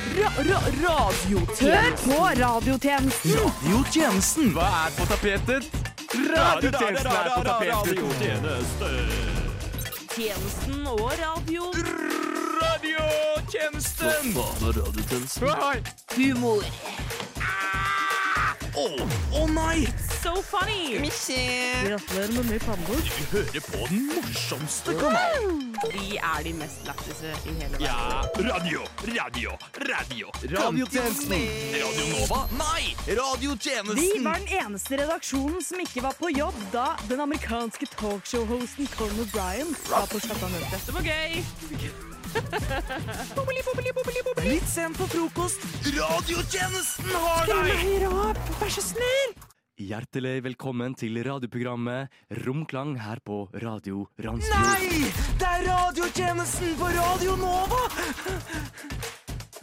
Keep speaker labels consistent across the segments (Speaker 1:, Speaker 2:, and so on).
Speaker 1: Ra ra radiotjenester.
Speaker 2: Hør på radiotjenesten!
Speaker 3: Radiotjenesten. Hva er på tapetet? Radiotjenesten er på tapetet.
Speaker 1: Tjenesten og radio.
Speaker 3: Radiotjenesten. Hei.
Speaker 1: Humor.
Speaker 3: Ah! Å å nei!
Speaker 1: So funny.
Speaker 2: Gratulerer med ny pannebok.
Speaker 3: Vi hører på den morsomste kanalen.
Speaker 1: Vi er de mest lættise i hele verden.
Speaker 3: Ja, radio, radio, radio. Radiotjenesten. Radio Nova? Nei,
Speaker 2: Vi
Speaker 3: radiotjenesten.
Speaker 2: var den eneste redaksjonen som ikke var på jobb da den amerikanske talkshow-hosten Colin O'Brien var på Chattanutte.
Speaker 1: Det var gøy.
Speaker 3: Litt sent på frokost. Radiotjenesten har deg!
Speaker 2: Høyre opp, vær så snill!
Speaker 4: Hjertelig velkommen til radioprogrammet Romklang her på Radio Randsfjord.
Speaker 3: Nei! Det er radiotjenesten på Radio Nova!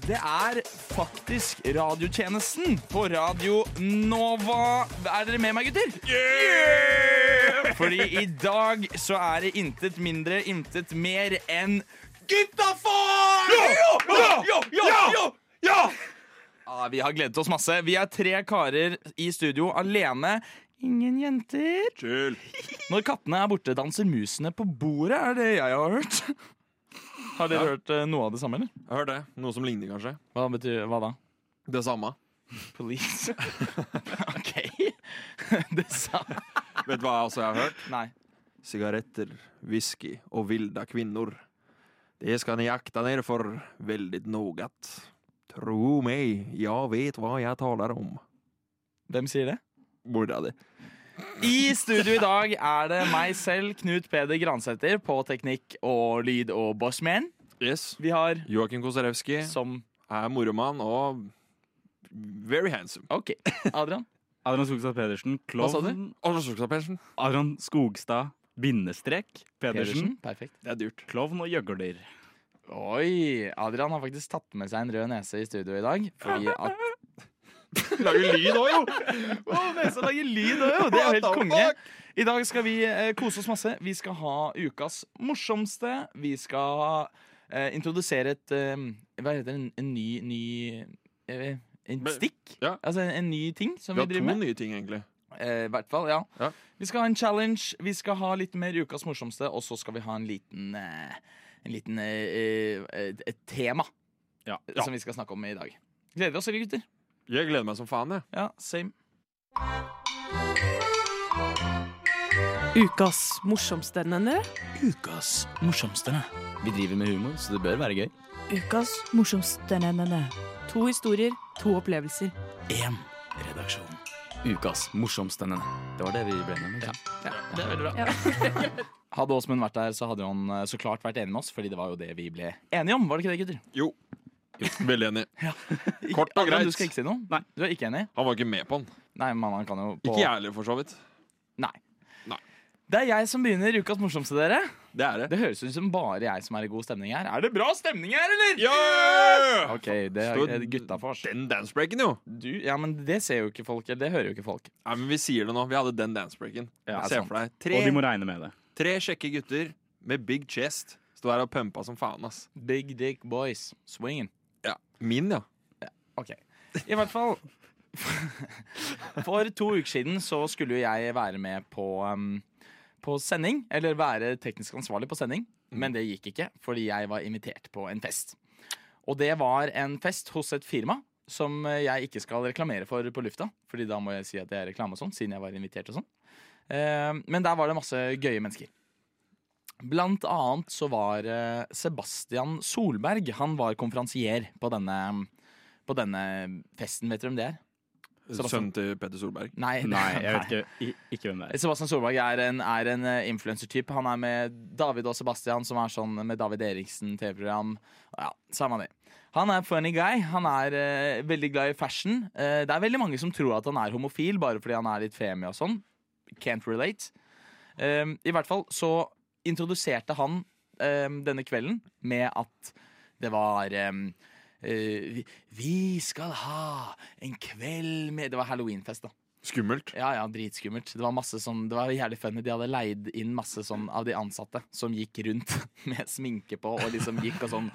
Speaker 3: Det er faktisk radiotjenesten på Radio Nova. Er dere med meg, gutter? Fordi i dag så er det intet mindre, intet mer enn Gutta får! Ja, vi har gledet oss masse. Vi er tre karer i studio alene. Ingen jenter. Når kattene er borte, danser musene på bordet, er det jeg har hørt. Har dere hørt eh, noe av det samme, eller?
Speaker 5: Jeg hørte det. Noe som ligner, kanskje.
Speaker 3: Hva betyr hva da?
Speaker 5: Det samme.
Speaker 3: Police? OK. det sa
Speaker 5: Vet du hva jeg også har hørt?
Speaker 3: Nei.
Speaker 5: Sigaretter, whisky og vilda kvinner. Det skal ni akta dere for veldig nogat. Tro meg, jeg vet hva jeg taler om.
Speaker 3: Hvem sier det?
Speaker 5: Mora di.
Speaker 3: I studio i dag er det meg selv, Knut Peder Gransæter, på teknikk og lyd og bossman.
Speaker 5: Yes.
Speaker 3: Vi har
Speaker 5: Joakim Kosarewski
Speaker 3: som
Speaker 5: er moromann og very handsome.
Speaker 3: OK. Adrian?
Speaker 4: Adrian Skogstad Pedersen,
Speaker 5: Hva sa du?
Speaker 4: klovn.
Speaker 5: Årsaksapensen.
Speaker 4: Adrian Skogstad, bindestrek, Pedersen.
Speaker 3: Perfekt.
Speaker 5: Det er dyrt.
Speaker 4: Klovn og gjøgler.
Speaker 3: Oi! Adrian har faktisk tatt med seg en rød nese i studio i dag. Fordi at
Speaker 5: Lager lyd òg, jo!
Speaker 3: Wow, Nesa lager lyd òg, jo! Det er jo helt konge. I dag skal vi eh, kose oss masse. Vi skal ha ukas morsomste. Vi skal eh, introdusere et eh, Hva heter det? En, en ny, ny eh, En
Speaker 5: Be-
Speaker 3: stikk?
Speaker 5: ja.
Speaker 3: Altså en, en ny ting som
Speaker 5: Vi
Speaker 3: vi,
Speaker 5: har to
Speaker 3: driver med.
Speaker 5: nye ting, egentlig.
Speaker 3: Eh, I hvert fall, ja.
Speaker 5: Ja.
Speaker 3: Vi skal ha en challenge, vi skal ha litt mer ukas morsomste, og så skal vi ha en liten eh, En liten eh, eh, et- Et tema
Speaker 4: Ja.
Speaker 3: som vi skal snakke om i dag. Gleder vi oss, eller, gutter?
Speaker 5: Jeg gleder meg som faen, jeg.
Speaker 3: Ja, same.
Speaker 1: Ukas morsomste, denne.
Speaker 3: Ukas morsomste.
Speaker 4: Vi driver med humor, så det bør være gøy.
Speaker 1: Ukas morsomste, denne. To historier, to opplevelser.
Speaker 3: Én redaksjon.
Speaker 4: Ukas morsomstende. Det var det vi ble med. Ja.
Speaker 3: Det er veldig bra. hadde Åsmund vært der, så hadde han eh, så klart vært enig med oss, fordi det var jo det vi ble enige om. Var det ikke det, gutter?
Speaker 5: Jo. Veldig enig. Kort og
Speaker 3: Adrian,
Speaker 5: greit.
Speaker 3: Du skal ikke si noe?
Speaker 4: Nei.
Speaker 3: Du er ikke enig?
Speaker 5: Han var ikke med på den.
Speaker 3: Nei, men han kan jo på
Speaker 5: Ikke jeg heller, for så vidt.
Speaker 3: Nei.
Speaker 5: Nei.
Speaker 3: Det er jeg som begynner ukas morsomste, dere.
Speaker 5: Det er det.
Speaker 3: Det høres ut som bare jeg som er i god stemning her. Er det bra stemning her, eller?
Speaker 5: Yeah!
Speaker 3: OK, det er
Speaker 5: Står-
Speaker 3: er gutta for oss.
Speaker 5: Den dancebreaken, jo!
Speaker 3: Du, ja, men det ser jo ikke folk. Eller det hører jo ikke folk.
Speaker 5: Nei, men Vi sier det nå. Vi hadde den dancebreaken.
Speaker 4: Ja,
Speaker 5: Se
Speaker 3: sant.
Speaker 5: for deg
Speaker 4: Og vi
Speaker 5: tre,
Speaker 4: må regne med det.
Speaker 5: tre kjekke gutter med big chest står her og pumpa som faen, ass.
Speaker 3: Big dick boys. Swingen.
Speaker 5: Ja. Min, ja.
Speaker 3: Ok, i hvert fall For to uker siden så skulle jo jeg være med på, um, på sending Eller være teknisk ansvarlig på sending Men det gikk ikke, fordi jeg var invitert på en fest Og det var en fest hos et firma Som jeg ikke skal reklamere for på lufta Fordi da må jeg si at det er reklame og sånn Siden jeg var invitert og sånn Eh, Men der var det masse gøye mennesker Blant annet så var eh, Sebastian Solberg Han var konferansier på denne um, på denne festen. Vet dere hvem det er? Sebastian.
Speaker 5: Sønnen til Petter Solberg.
Speaker 3: Nei,
Speaker 4: Nei, jeg vet ikke, I, ikke hvem det er.
Speaker 3: Eh, Sebastian Solberg er en, er en eh, influencer-type. Han er med David og Sebastian, som er sånn med David Eriksen, TV-program. Ja, samme det. Han er funny guy. Han er eh, veldig glad i fashion. Eh, det er veldig mange som tror at han er homofil bare fordi han er litt femi og sånn. Can't relate. Eh, I hvert fall så introduserte han eh, denne kvelden med at det var eh, eh, vi, vi skal ha en kveld med Det var halloweenfest, da.
Speaker 5: Skummelt.
Speaker 3: Ja, ja, dritskummelt. Det var masse sånn, det var jævlig funny. De hadde leid inn masse sånn av de ansatte som gikk rundt med sminke på og liksom gikk og sånn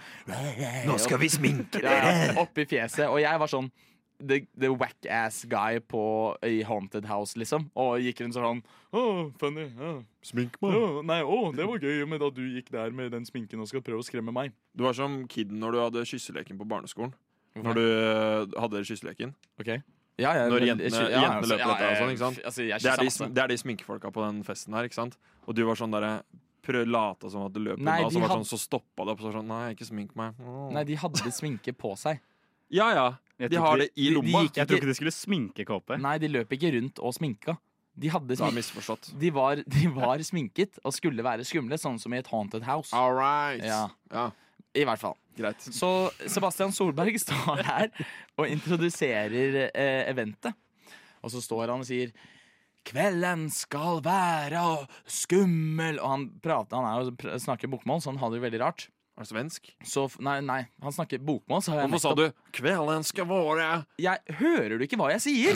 Speaker 6: Nå skal vi sminke
Speaker 3: ja,
Speaker 6: dere!
Speaker 3: oppi fjeset. Og jeg var sånn The, the whack-ass guy på, i Haunted House, liksom. Og gikk rundt sånn
Speaker 5: Å, funny. Ja. Smink meg.
Speaker 3: «Å, Nei, å, det var gøy med da du gikk der med den sminken og skal prøve å skremme meg.
Speaker 5: Du var som kiden når du hadde kysseleken på barneskolen. Når du eh, hadde kysseleken.
Speaker 3: Ok ja, ja,
Speaker 5: Når
Speaker 3: men-
Speaker 5: jentene-
Speaker 3: ja,
Speaker 5: jentene
Speaker 3: altså,
Speaker 5: løper etter deg og sånn,
Speaker 3: jeg-
Speaker 5: ikke sant?
Speaker 3: Altså, jeg
Speaker 5: Det er, de,
Speaker 3: kyssa
Speaker 5: sm-
Speaker 3: masse.
Speaker 5: det er de sminkefolka på den festen her, ikke sant? Og du var sånn derre Prøv lata som at du løp
Speaker 3: Nei,
Speaker 5: unna, og så,
Speaker 3: de
Speaker 5: var
Speaker 3: had-
Speaker 5: sånn, så stoppa det opp. Så var det sånn, Nei, ikke smink meg. Åh.
Speaker 3: Nei, de hadde sminke på seg.
Speaker 5: Ja ja.
Speaker 7: Jeg
Speaker 5: De
Speaker 7: tror
Speaker 5: har
Speaker 7: ikke-
Speaker 5: det i
Speaker 7: de- de
Speaker 5: lomma.
Speaker 7: gikk ikke- Jeg tror ikke de skulle sminke kåpe.
Speaker 3: Nei, de løp ikke rundt og sminka. De hadde
Speaker 5: Du har
Speaker 3: sminke.
Speaker 5: misforstått.
Speaker 3: De var, de var sminket og skulle være skumle, sånn som i et Haunted House.
Speaker 5: All right.
Speaker 3: Ja.
Speaker 5: Ja,
Speaker 3: I hvert fall.
Speaker 5: Greit.
Speaker 3: Så Sebastian Solberg står her og introduserer eh, eventet. Og så står han og sier Kvelden skal være skummel Og han, prater, han er, jo- pr- snakker bokmål, så han har det jo veldig rart.
Speaker 5: Er det svensk?
Speaker 3: Så, f- nei, nei, han snakker bokmål. Så har jeg
Speaker 5: Hvorfor sa
Speaker 3: nettopp-
Speaker 5: du 'kvelden skal være'?
Speaker 3: Jeg, hører du ikke hva jeg sier?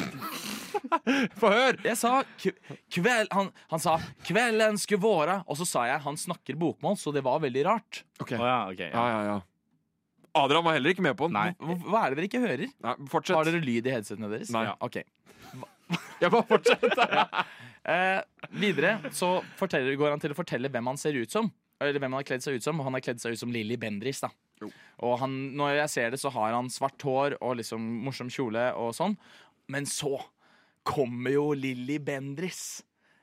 Speaker 5: Få høre!
Speaker 3: Jeg sa k kveld, han, han sa 'kvelden skulle våre', og så sa jeg han snakker bokmål, så det var veldig rart.
Speaker 5: Ok,
Speaker 7: Å
Speaker 5: ja,
Speaker 7: ja, ok. Ja.
Speaker 5: ja, ja. Adrian var heller ikke med på den.
Speaker 7: Nei.
Speaker 3: Hva, hva er det dere ikke hører?
Speaker 5: Nei, fortsett.
Speaker 3: Har dere lyd i headsetene deres?
Speaker 5: Nei.
Speaker 3: Ja, ok.
Speaker 5: Jeg bare fortsett.
Speaker 3: Eh, videre så forteller, går han til å fortelle hvem han ser ut som. Eller hvem han har kledd seg ut som, og han har kledd seg ut som Lilly Bendriss. da.
Speaker 5: Jo.
Speaker 3: Og han, når jeg ser det, så har han svart hår og liksom morsom kjole og sånn. Men så kommer jo Lilly Bendriss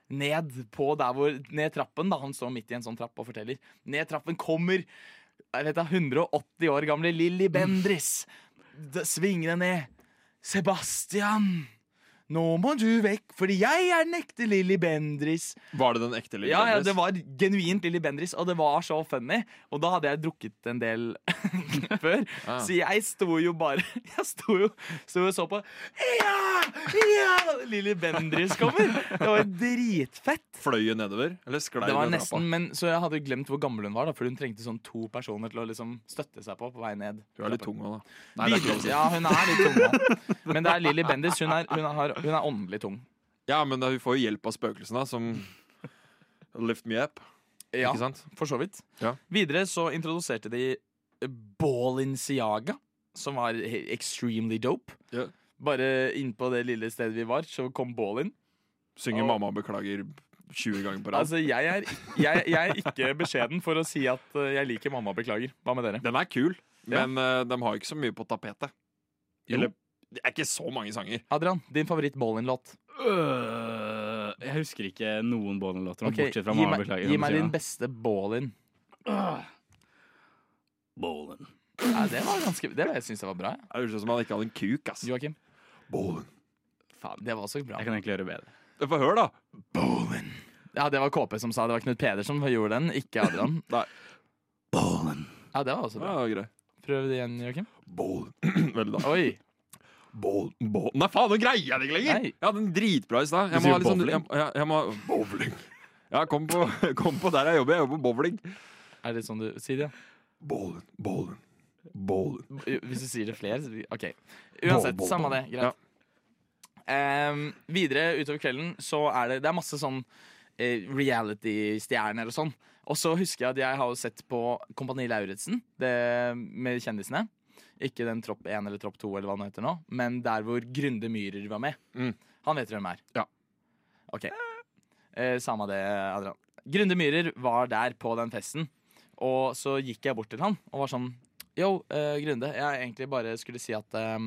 Speaker 3: ned på der hvor Ned trappen, da. Han står midt i en sånn trapp og forteller. Ned trappen kommer jeg vet da, 180 år gamle Lilly Bendriss. D- Svingende ned. Sebastian! Nå må du vekk, fordi jeg er den ekte Lilly Bendriss.
Speaker 5: Var det den ekte Lilly
Speaker 3: Ja, ja,
Speaker 5: Bendriss?
Speaker 3: det var genuint Lilly Bendriss, og det var så funny. Og da hadde jeg drukket en del før,
Speaker 5: Ah.
Speaker 3: så jeg sto jo bare Jeg sto jo sto og så på. Ja! Ja! Lilly Bendriss kommer! Det var dritfett.
Speaker 5: Fløy hun nedover? Eller sklei
Speaker 3: Det var
Speaker 5: hun ned
Speaker 3: nesten, men Så jeg hadde jo glemt hvor gammel hun var, da, for hun trengte sånn to personer til å liksom støtte seg på på vei ned.
Speaker 5: Du er litt tung òg, da. Nei, det er ikke lov å
Speaker 3: Videre,
Speaker 5: si.
Speaker 3: ja, hun er litt tung, da. Men det er Lilly Bendriss. Hun, er- hun, har- hun er åndelig tung.
Speaker 5: Ja, men da, hun får jo hjelp av spøkelsene, som Lift me up.
Speaker 3: Ja.
Speaker 5: Ikke sant?
Speaker 3: For så vidt.
Speaker 5: Ja.
Speaker 3: Videre så introduserte de Balinciaga, som var he- extremely dope.
Speaker 5: Ja.
Speaker 3: Bare innpå det lille stedet vi var, så kom Ballin.
Speaker 5: Synger
Speaker 3: Og-
Speaker 5: 'Mamma beklager' 20 ganger på rad.
Speaker 3: Altså, jeg er, jeg, jeg er ikke beskjeden for å si at eh, jeg liker mamma beklager. Hva med dere?
Speaker 5: den er kul,
Speaker 3: Ja.
Speaker 5: men eh, de har ikke så mye på tapetet.
Speaker 3: Jo.
Speaker 5: Eller det er ikke så mange sanger.
Speaker 3: Adrian, din favoritt Ballin-låt.
Speaker 7: Øh, jeg husker ikke noen Bollen-låter,
Speaker 3: Ok,
Speaker 7: bortsett fra
Speaker 3: gi,
Speaker 7: Mamma
Speaker 3: meg-
Speaker 7: beklager.
Speaker 3: gi meg din beste Ballin.
Speaker 7: Bollen.
Speaker 3: Ja, det var ganske Det var, jeg synes jeg var bra. Ja.
Speaker 5: Det høres ut som han ikke hadde en kuk. ass
Speaker 3: Joakim?
Speaker 5: Ballin.
Speaker 3: Faen, det var også bra.
Speaker 7: Jeg kan egentlig gjøre bedre.
Speaker 5: Få høre, da.
Speaker 3: Ja, det var KP som sa det. Det var Knut Peder som gjorde den, ikke Adrian.
Speaker 5: Nei.
Speaker 7: Bollen.
Speaker 3: Ja, det var også
Speaker 5: Ja,
Speaker 3: bra.
Speaker 5: det var grei.
Speaker 3: Prøv det igjen, Joakim.
Speaker 5: Ballin. Vel, da.
Speaker 3: Oi.
Speaker 5: Ball, ball. Nei, faen, nå greier jeg det ikke lenger!
Speaker 3: Nei.
Speaker 5: Jeg hadde en dritbra i stad.
Speaker 7: Du
Speaker 5: Jeg må
Speaker 7: sier
Speaker 5: ha litt sånn-
Speaker 7: bowling.
Speaker 5: jeg- jeg- jeg må- Bowling. Ja, kom på, kom på der jeg jobber. Jeg jobber på bowling.
Speaker 3: Er det sånn du sier det?
Speaker 5: Bowling, bowling, bowling.
Speaker 3: Hvis du sier det flere, så blir- OK. Uansett,
Speaker 5: ball,
Speaker 3: samme
Speaker 5: ball.
Speaker 3: det. Greit. Ehm, videre utover kvelden så er det Det er masse sånn eh, reality-stjerner og sånn. Og så husker jeg at jeg har jo sett på Kompani Lauritzen det- med kjendisene. Ikke den Tropp 1 eller Tropp 2, eller hva den heter nå, men der hvor Grunde Myhrer var med.
Speaker 5: Mm.
Speaker 3: Han vet hvem er.
Speaker 5: Ja.
Speaker 3: OK. Eh, samme det, Adrian. Grunde Myhrer var der på den festen, og så gikk jeg bort til han og var sånn Yo, eh, Grunde, jeg egentlig bare skulle si at eh,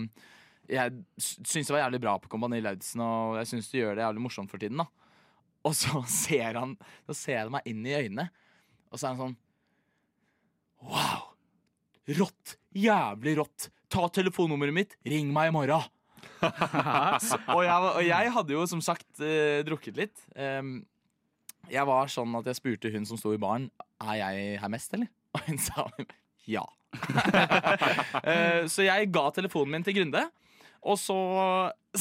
Speaker 3: jeg s- syns det var jævlig bra på Kompani Lauritzen, og jeg syns du gjør det jævlig morsomt for tiden, da. Og så ser han Så ser han meg inn i øynene, og så er han sånn Wow! Rått! Jævlig rått! Ta telefonnummeret mitt, ring meg i morgen! så, og, jeg, var- og jeg hadde jo som sagt eh, drukket litt. Em, jeg var sånn at jeg spurte hun som sto i baren, er jeg her mest, eller? Og hun sa ja. Eh, så jeg ga telefonen min til Grunde, og så,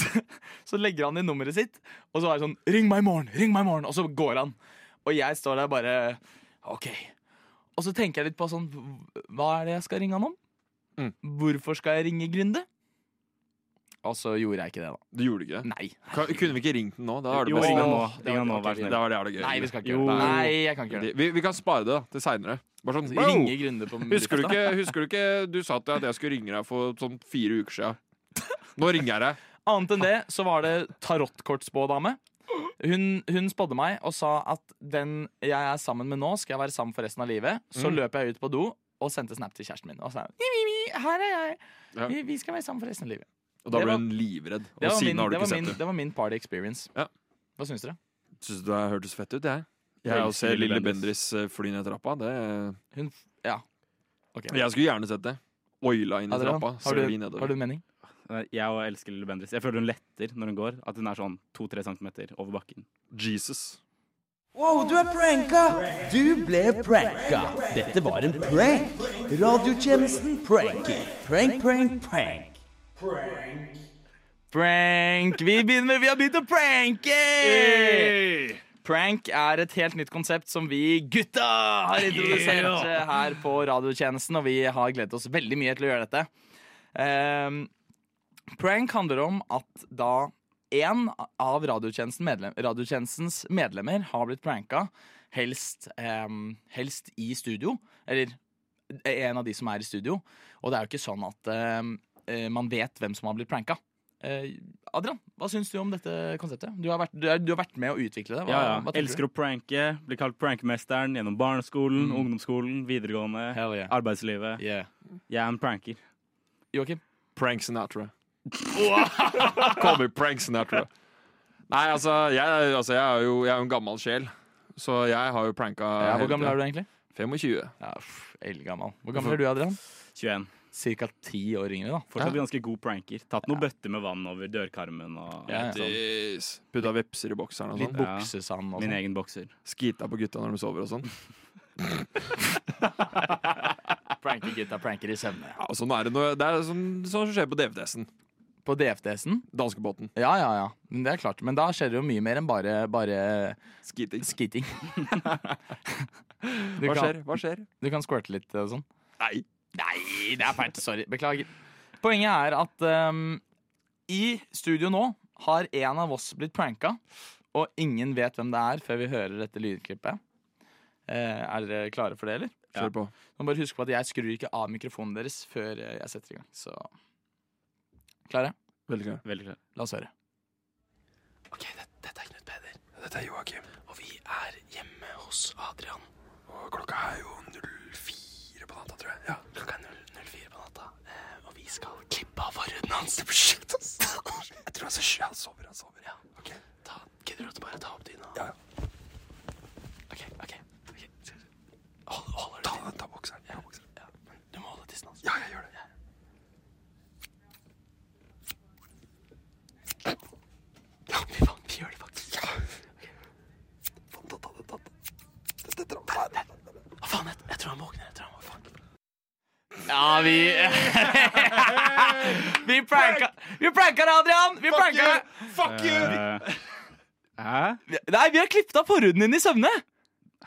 Speaker 3: så legger han inn nummeret sitt. Og så er det sånn 'ring meg i morgen', ring meg i morgen, og så går han. Og jeg står der bare OK. Og så tenker jeg litt på sånn Hva er det jeg skal ringe han om?
Speaker 5: Mm.
Speaker 3: Hvorfor skal jeg ringe Grunde? Og så gjorde jeg ikke det, da.
Speaker 5: Du gjorde ikke det?
Speaker 3: Nei.
Speaker 5: Kan, kunne vi ikke ringt den nå? Da er det
Speaker 4: Jo,
Speaker 5: best.
Speaker 4: ring den nå.
Speaker 3: Åh, det
Speaker 4: Ring den nå,
Speaker 3: var
Speaker 4: vær
Speaker 3: ikke
Speaker 4: snill.
Speaker 5: Der var det er det gøy.
Speaker 3: Nei, vi skal ikke
Speaker 4: Jo.
Speaker 3: gjøre det. Nei, jeg kan ikke gjøre det. Altså,
Speaker 5: Vi, vi, vi kan spare det da, til seinere. Bare sånn wow!
Speaker 3: Ringe Grunde på
Speaker 5: Husker du,
Speaker 3: lufta.
Speaker 5: ikke, husker du ikke du sa til at jeg skulle ringe deg for sånn fire uker siden? Nå ringer jeg deg.
Speaker 3: Annet enn det så var det tarotkortspådame. Hun, hun spådde meg og sa at den jeg er sammen med nå, skal jeg være sammen for resten av livet. Så
Speaker 5: Mm.
Speaker 3: løp jeg ut på do og sendte snap til kjæresten min. Og sa «Mi, mi, mi, her er jeg.
Speaker 5: Ja.
Speaker 3: Vi, vi skal være sammen for resten av livet.
Speaker 5: Og da
Speaker 3: Det
Speaker 5: ble
Speaker 3: var-
Speaker 5: hun livredd. Og
Speaker 3: Det var,
Speaker 5: siden
Speaker 3: min,
Speaker 5: har du
Speaker 3: det,
Speaker 5: ikke
Speaker 3: var
Speaker 5: sett
Speaker 3: min,
Speaker 5: det.
Speaker 3: det var min party experience.
Speaker 5: Ja.
Speaker 3: Hva syns dere?
Speaker 5: Syns du det hørtes fett ut, jeg? Jeg
Speaker 4: Jeg
Speaker 5: å
Speaker 4: elsker
Speaker 5: se
Speaker 4: Lille
Speaker 5: Lille Bendris
Speaker 4: Bendriss.
Speaker 5: fly ned trappa, det
Speaker 3: Hun, f- ja. Ok.
Speaker 5: Jeg skulle gjerne sett det. Oila inn i
Speaker 3: Adrian,
Speaker 5: trappa.
Speaker 3: har,
Speaker 5: Sørli
Speaker 3: du, har du
Speaker 5: nedover.
Speaker 3: en mening?
Speaker 4: Nei, Jeg også elsker Lille Bendriss. Jeg føler hun letter når hun går. At hun er sånn to-tre centimeter over bakken.
Speaker 5: Jesus.
Speaker 8: Wow, du er pranka! Du ble pranka. Dette var en prank. Radiotjenesten pranker. Prank, prank, prank.
Speaker 3: Prank! Vi, begynner, med- vi har begynt å pranke! Prank er et helt nytt konsept som vi gutta har introdusert eh, her på radiotjenesten, og vi har gledet oss veldig mye til å gjøre dette. Ehm, prank handler om at da én av radiotjenesten medlem, radiotjenestens medlemmer har blitt pranka, helst, ehm, helst i studio, eller eh, en av de som er i studio, og det er jo ikke sånn at ehm, eh, man vet hvem som har blitt pranka. Eh, Adrian, hva syns du om dette konseptet? Du har vært, du er, du har vært med å utvikle det. Hva,
Speaker 4: Ja, ja.
Speaker 3: hva tenker
Speaker 4: Elsker å pranke. Blir kalt prankmesteren gjennom barneskolen, ungdomsskolen, videregående,
Speaker 3: Hell yeah.
Speaker 4: arbeidslivet.
Speaker 3: Yeah.
Speaker 4: Jeg er en pranker.
Speaker 3: Joakim?
Speaker 5: Prank Sinatra. Call me Prank Sinatra. Nei, altså, jeg, altså, jeg er jo jeg er jo en gammel sjel. Så jeg har jo eh, pranka
Speaker 3: hvor gammel er du egentlig?
Speaker 5: 25.
Speaker 3: Ah, Ja, pff, Eldgammel. Hvor gammel er du, Adrian?
Speaker 4: 21.
Speaker 3: Cirka ti år yngre, da.
Speaker 4: Fortsatt ganske god pranker. Tatt noen bøtter med vann over dørkarmen og
Speaker 3: Ja, ja.
Speaker 5: Jeez. Putta vepser i bokseren og
Speaker 3: Litt
Speaker 5: sånn.
Speaker 4: Ja.
Speaker 3: buksesand og
Speaker 4: min
Speaker 3: sånn.
Speaker 4: egen bokser.
Speaker 5: Skita på gutta når de sover og sånn.
Speaker 3: Pranker gutta, pranker i søvne.
Speaker 5: Ja, og sånn er det, noe, det er sånn, sånn som skjer på DVDS-en.
Speaker 3: På DFDS-en?
Speaker 5: Danskebåten.
Speaker 3: Ja, ja, ja. Men Det er klart. Men da skjer det jo mye mer enn bare, bare
Speaker 5: Skiting.
Speaker 3: skiting. du,
Speaker 5: Hva
Speaker 3: kan,
Speaker 5: skjer? Hva skjer?
Speaker 3: du kan squirte litt og sånn.
Speaker 5: Nei.
Speaker 3: Nei, det er fælt. Sorry. Beklager. Poenget er at ehm, i studio nå har en av oss blitt pranka, og ingen vet hvem det er før vi hører dette lydklippet. Eh, er dere klare for det, eller?
Speaker 5: Kjør på.
Speaker 3: Må bare huske på at jeg skrur ikke av mikrofonen deres før eh, jeg setter i gang. Så Klare?
Speaker 5: Veldig klar.
Speaker 4: Veldig klart.
Speaker 3: La oss høre.
Speaker 9: Ok, det, dette er Knut Peder. Dette er Joakim. Og vi er hjemme hos Adrian. Og klokka er jo 04 på natta, tror jeg. Ja. Klokka er 0, 04 på natta. Eh, og vi skal klippe av forhuden hans. Det blir sjukt, ass. jeg tror han, så, han sover. Han sover. Ja. Ok. Ta, gidder du å bare ta opp dyna? Ja, ja. Ok, ok. ok. Skal- Hold, holder du ta, ta bokseren. Ja. ja. Men du må holde tissen hans. Ja, jeg gjør det. Ja, fy faen, vi gjør det faktisk. Ja. Hva faen, jeg, jeg tror han våkner. Jeg tror han våkner.
Speaker 3: Ja, vi Vi pranka Vi pranka deg, Adrian! Vi pranka deg!
Speaker 5: Fuck
Speaker 4: Eh, Hæ?
Speaker 3: Nei, vi har klippet av forhuden din i søvne!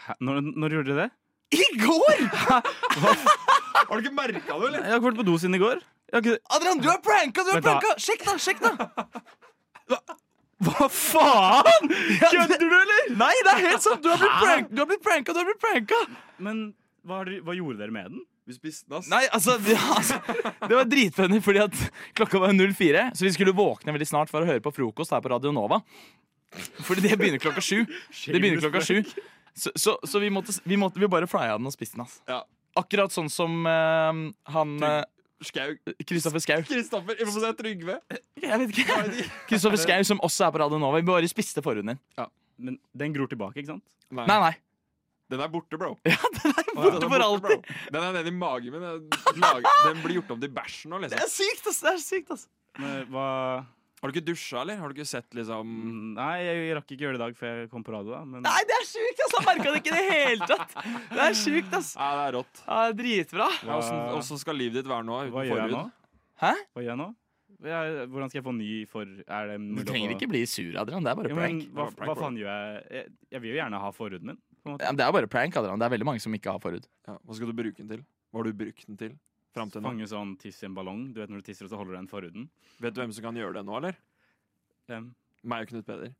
Speaker 4: Hæ? Når, når gjorde dere det?
Speaker 3: I går! Eh.
Speaker 5: Har du ikke merka det, eller?
Speaker 4: Jeg har ikke vært på do siden i går. Jeg har ikke...
Speaker 3: Adrian, du er pranka! Du er
Speaker 4: Vent da.
Speaker 3: pranka! Sjekk, da! sjekk da
Speaker 4: Hva faen?! Kødder du, eller?!
Speaker 3: Nei, det er helt sant! Du har blitt, prank, du har blitt pranka! Du har blitt pranka
Speaker 4: Men hva, har dere- hva gjorde dere med den?
Speaker 5: Vi spiste den, ass.
Speaker 3: Nei, altså, det, altså, det var dritfunny, fordi at klokka var 04, så vi skulle våkne veldig snart for å høre på frokost her på Radio Nova. Fordi det begynner klokka sju. Det begynner klokka sju. Så, så, så vi, måtte, vi måtte vi bare flya den og spiste den. ass.
Speaker 5: Ja.
Speaker 3: Akkurat sånn som eh, han eh,
Speaker 5: Skau.
Speaker 3: Kristoffer Schau.
Speaker 5: Kristoffer. Vi må få se Trygve.
Speaker 3: Jeg vet ikke. Kristoffer Schau, som også er på Radio Nova. Vi bare spiste forhuden din.
Speaker 4: Men den gror tilbake, ikke sant?
Speaker 3: Nei, nei.
Speaker 5: Den er borte, bro.
Speaker 3: Borte for alltid.
Speaker 5: Den er nede i magen min. Den, mage- den blir gjort om til bæsj nå,
Speaker 3: Det
Speaker 5: liksom.
Speaker 3: er sykt, ass. Det er sykt, ass.
Speaker 4: Men Eh, hva
Speaker 5: Har du ikke dusja, eller? Har du ikke sett, liksom
Speaker 3: Mm.
Speaker 4: Nei, jeg rakk ikke gjøre det i dag før jeg kom på radio. da Men
Speaker 3: Nei, det er sjukt, ass. Jeg merka det ikke i det hele tatt. Det er sjukt, ass.
Speaker 5: Ja, det er rått.
Speaker 3: Ja, dritbra.
Speaker 5: Ja, Åssen åssen skal livet ditt være nå? Uten
Speaker 4: hva gjør jeg nå?
Speaker 5: forhud?
Speaker 3: Hæ?
Speaker 4: Hva gjør jeg nå? Jeg- Hvordan skal jeg få ny for Er det
Speaker 3: Du
Speaker 4: mulig å
Speaker 3: trenger
Speaker 4: få-
Speaker 3: ikke bli sur, Adrian. Det er bare
Speaker 4: jo, men,
Speaker 3: prank.
Speaker 4: hva,
Speaker 5: Det var prank,
Speaker 4: hva
Speaker 5: bro.
Speaker 4: faen gjør jeg? jeg? Jeg vil jo gjerne ha forhuden min. På en måte.
Speaker 3: Ja, men det er bare prank, Adrian. Det er veldig mange som ikke har forhud.
Speaker 5: Ja, hva skal du bruke den til? Hva har du brukt den til? Fram til nå.
Speaker 4: Fange sånn tiss i en ballong. Du vet når du tisser, og så holder du den forhuden.
Speaker 5: Vet du hvem som kan gjøre det nå, eller?
Speaker 4: Hvem?
Speaker 5: Meg og Knut Peder.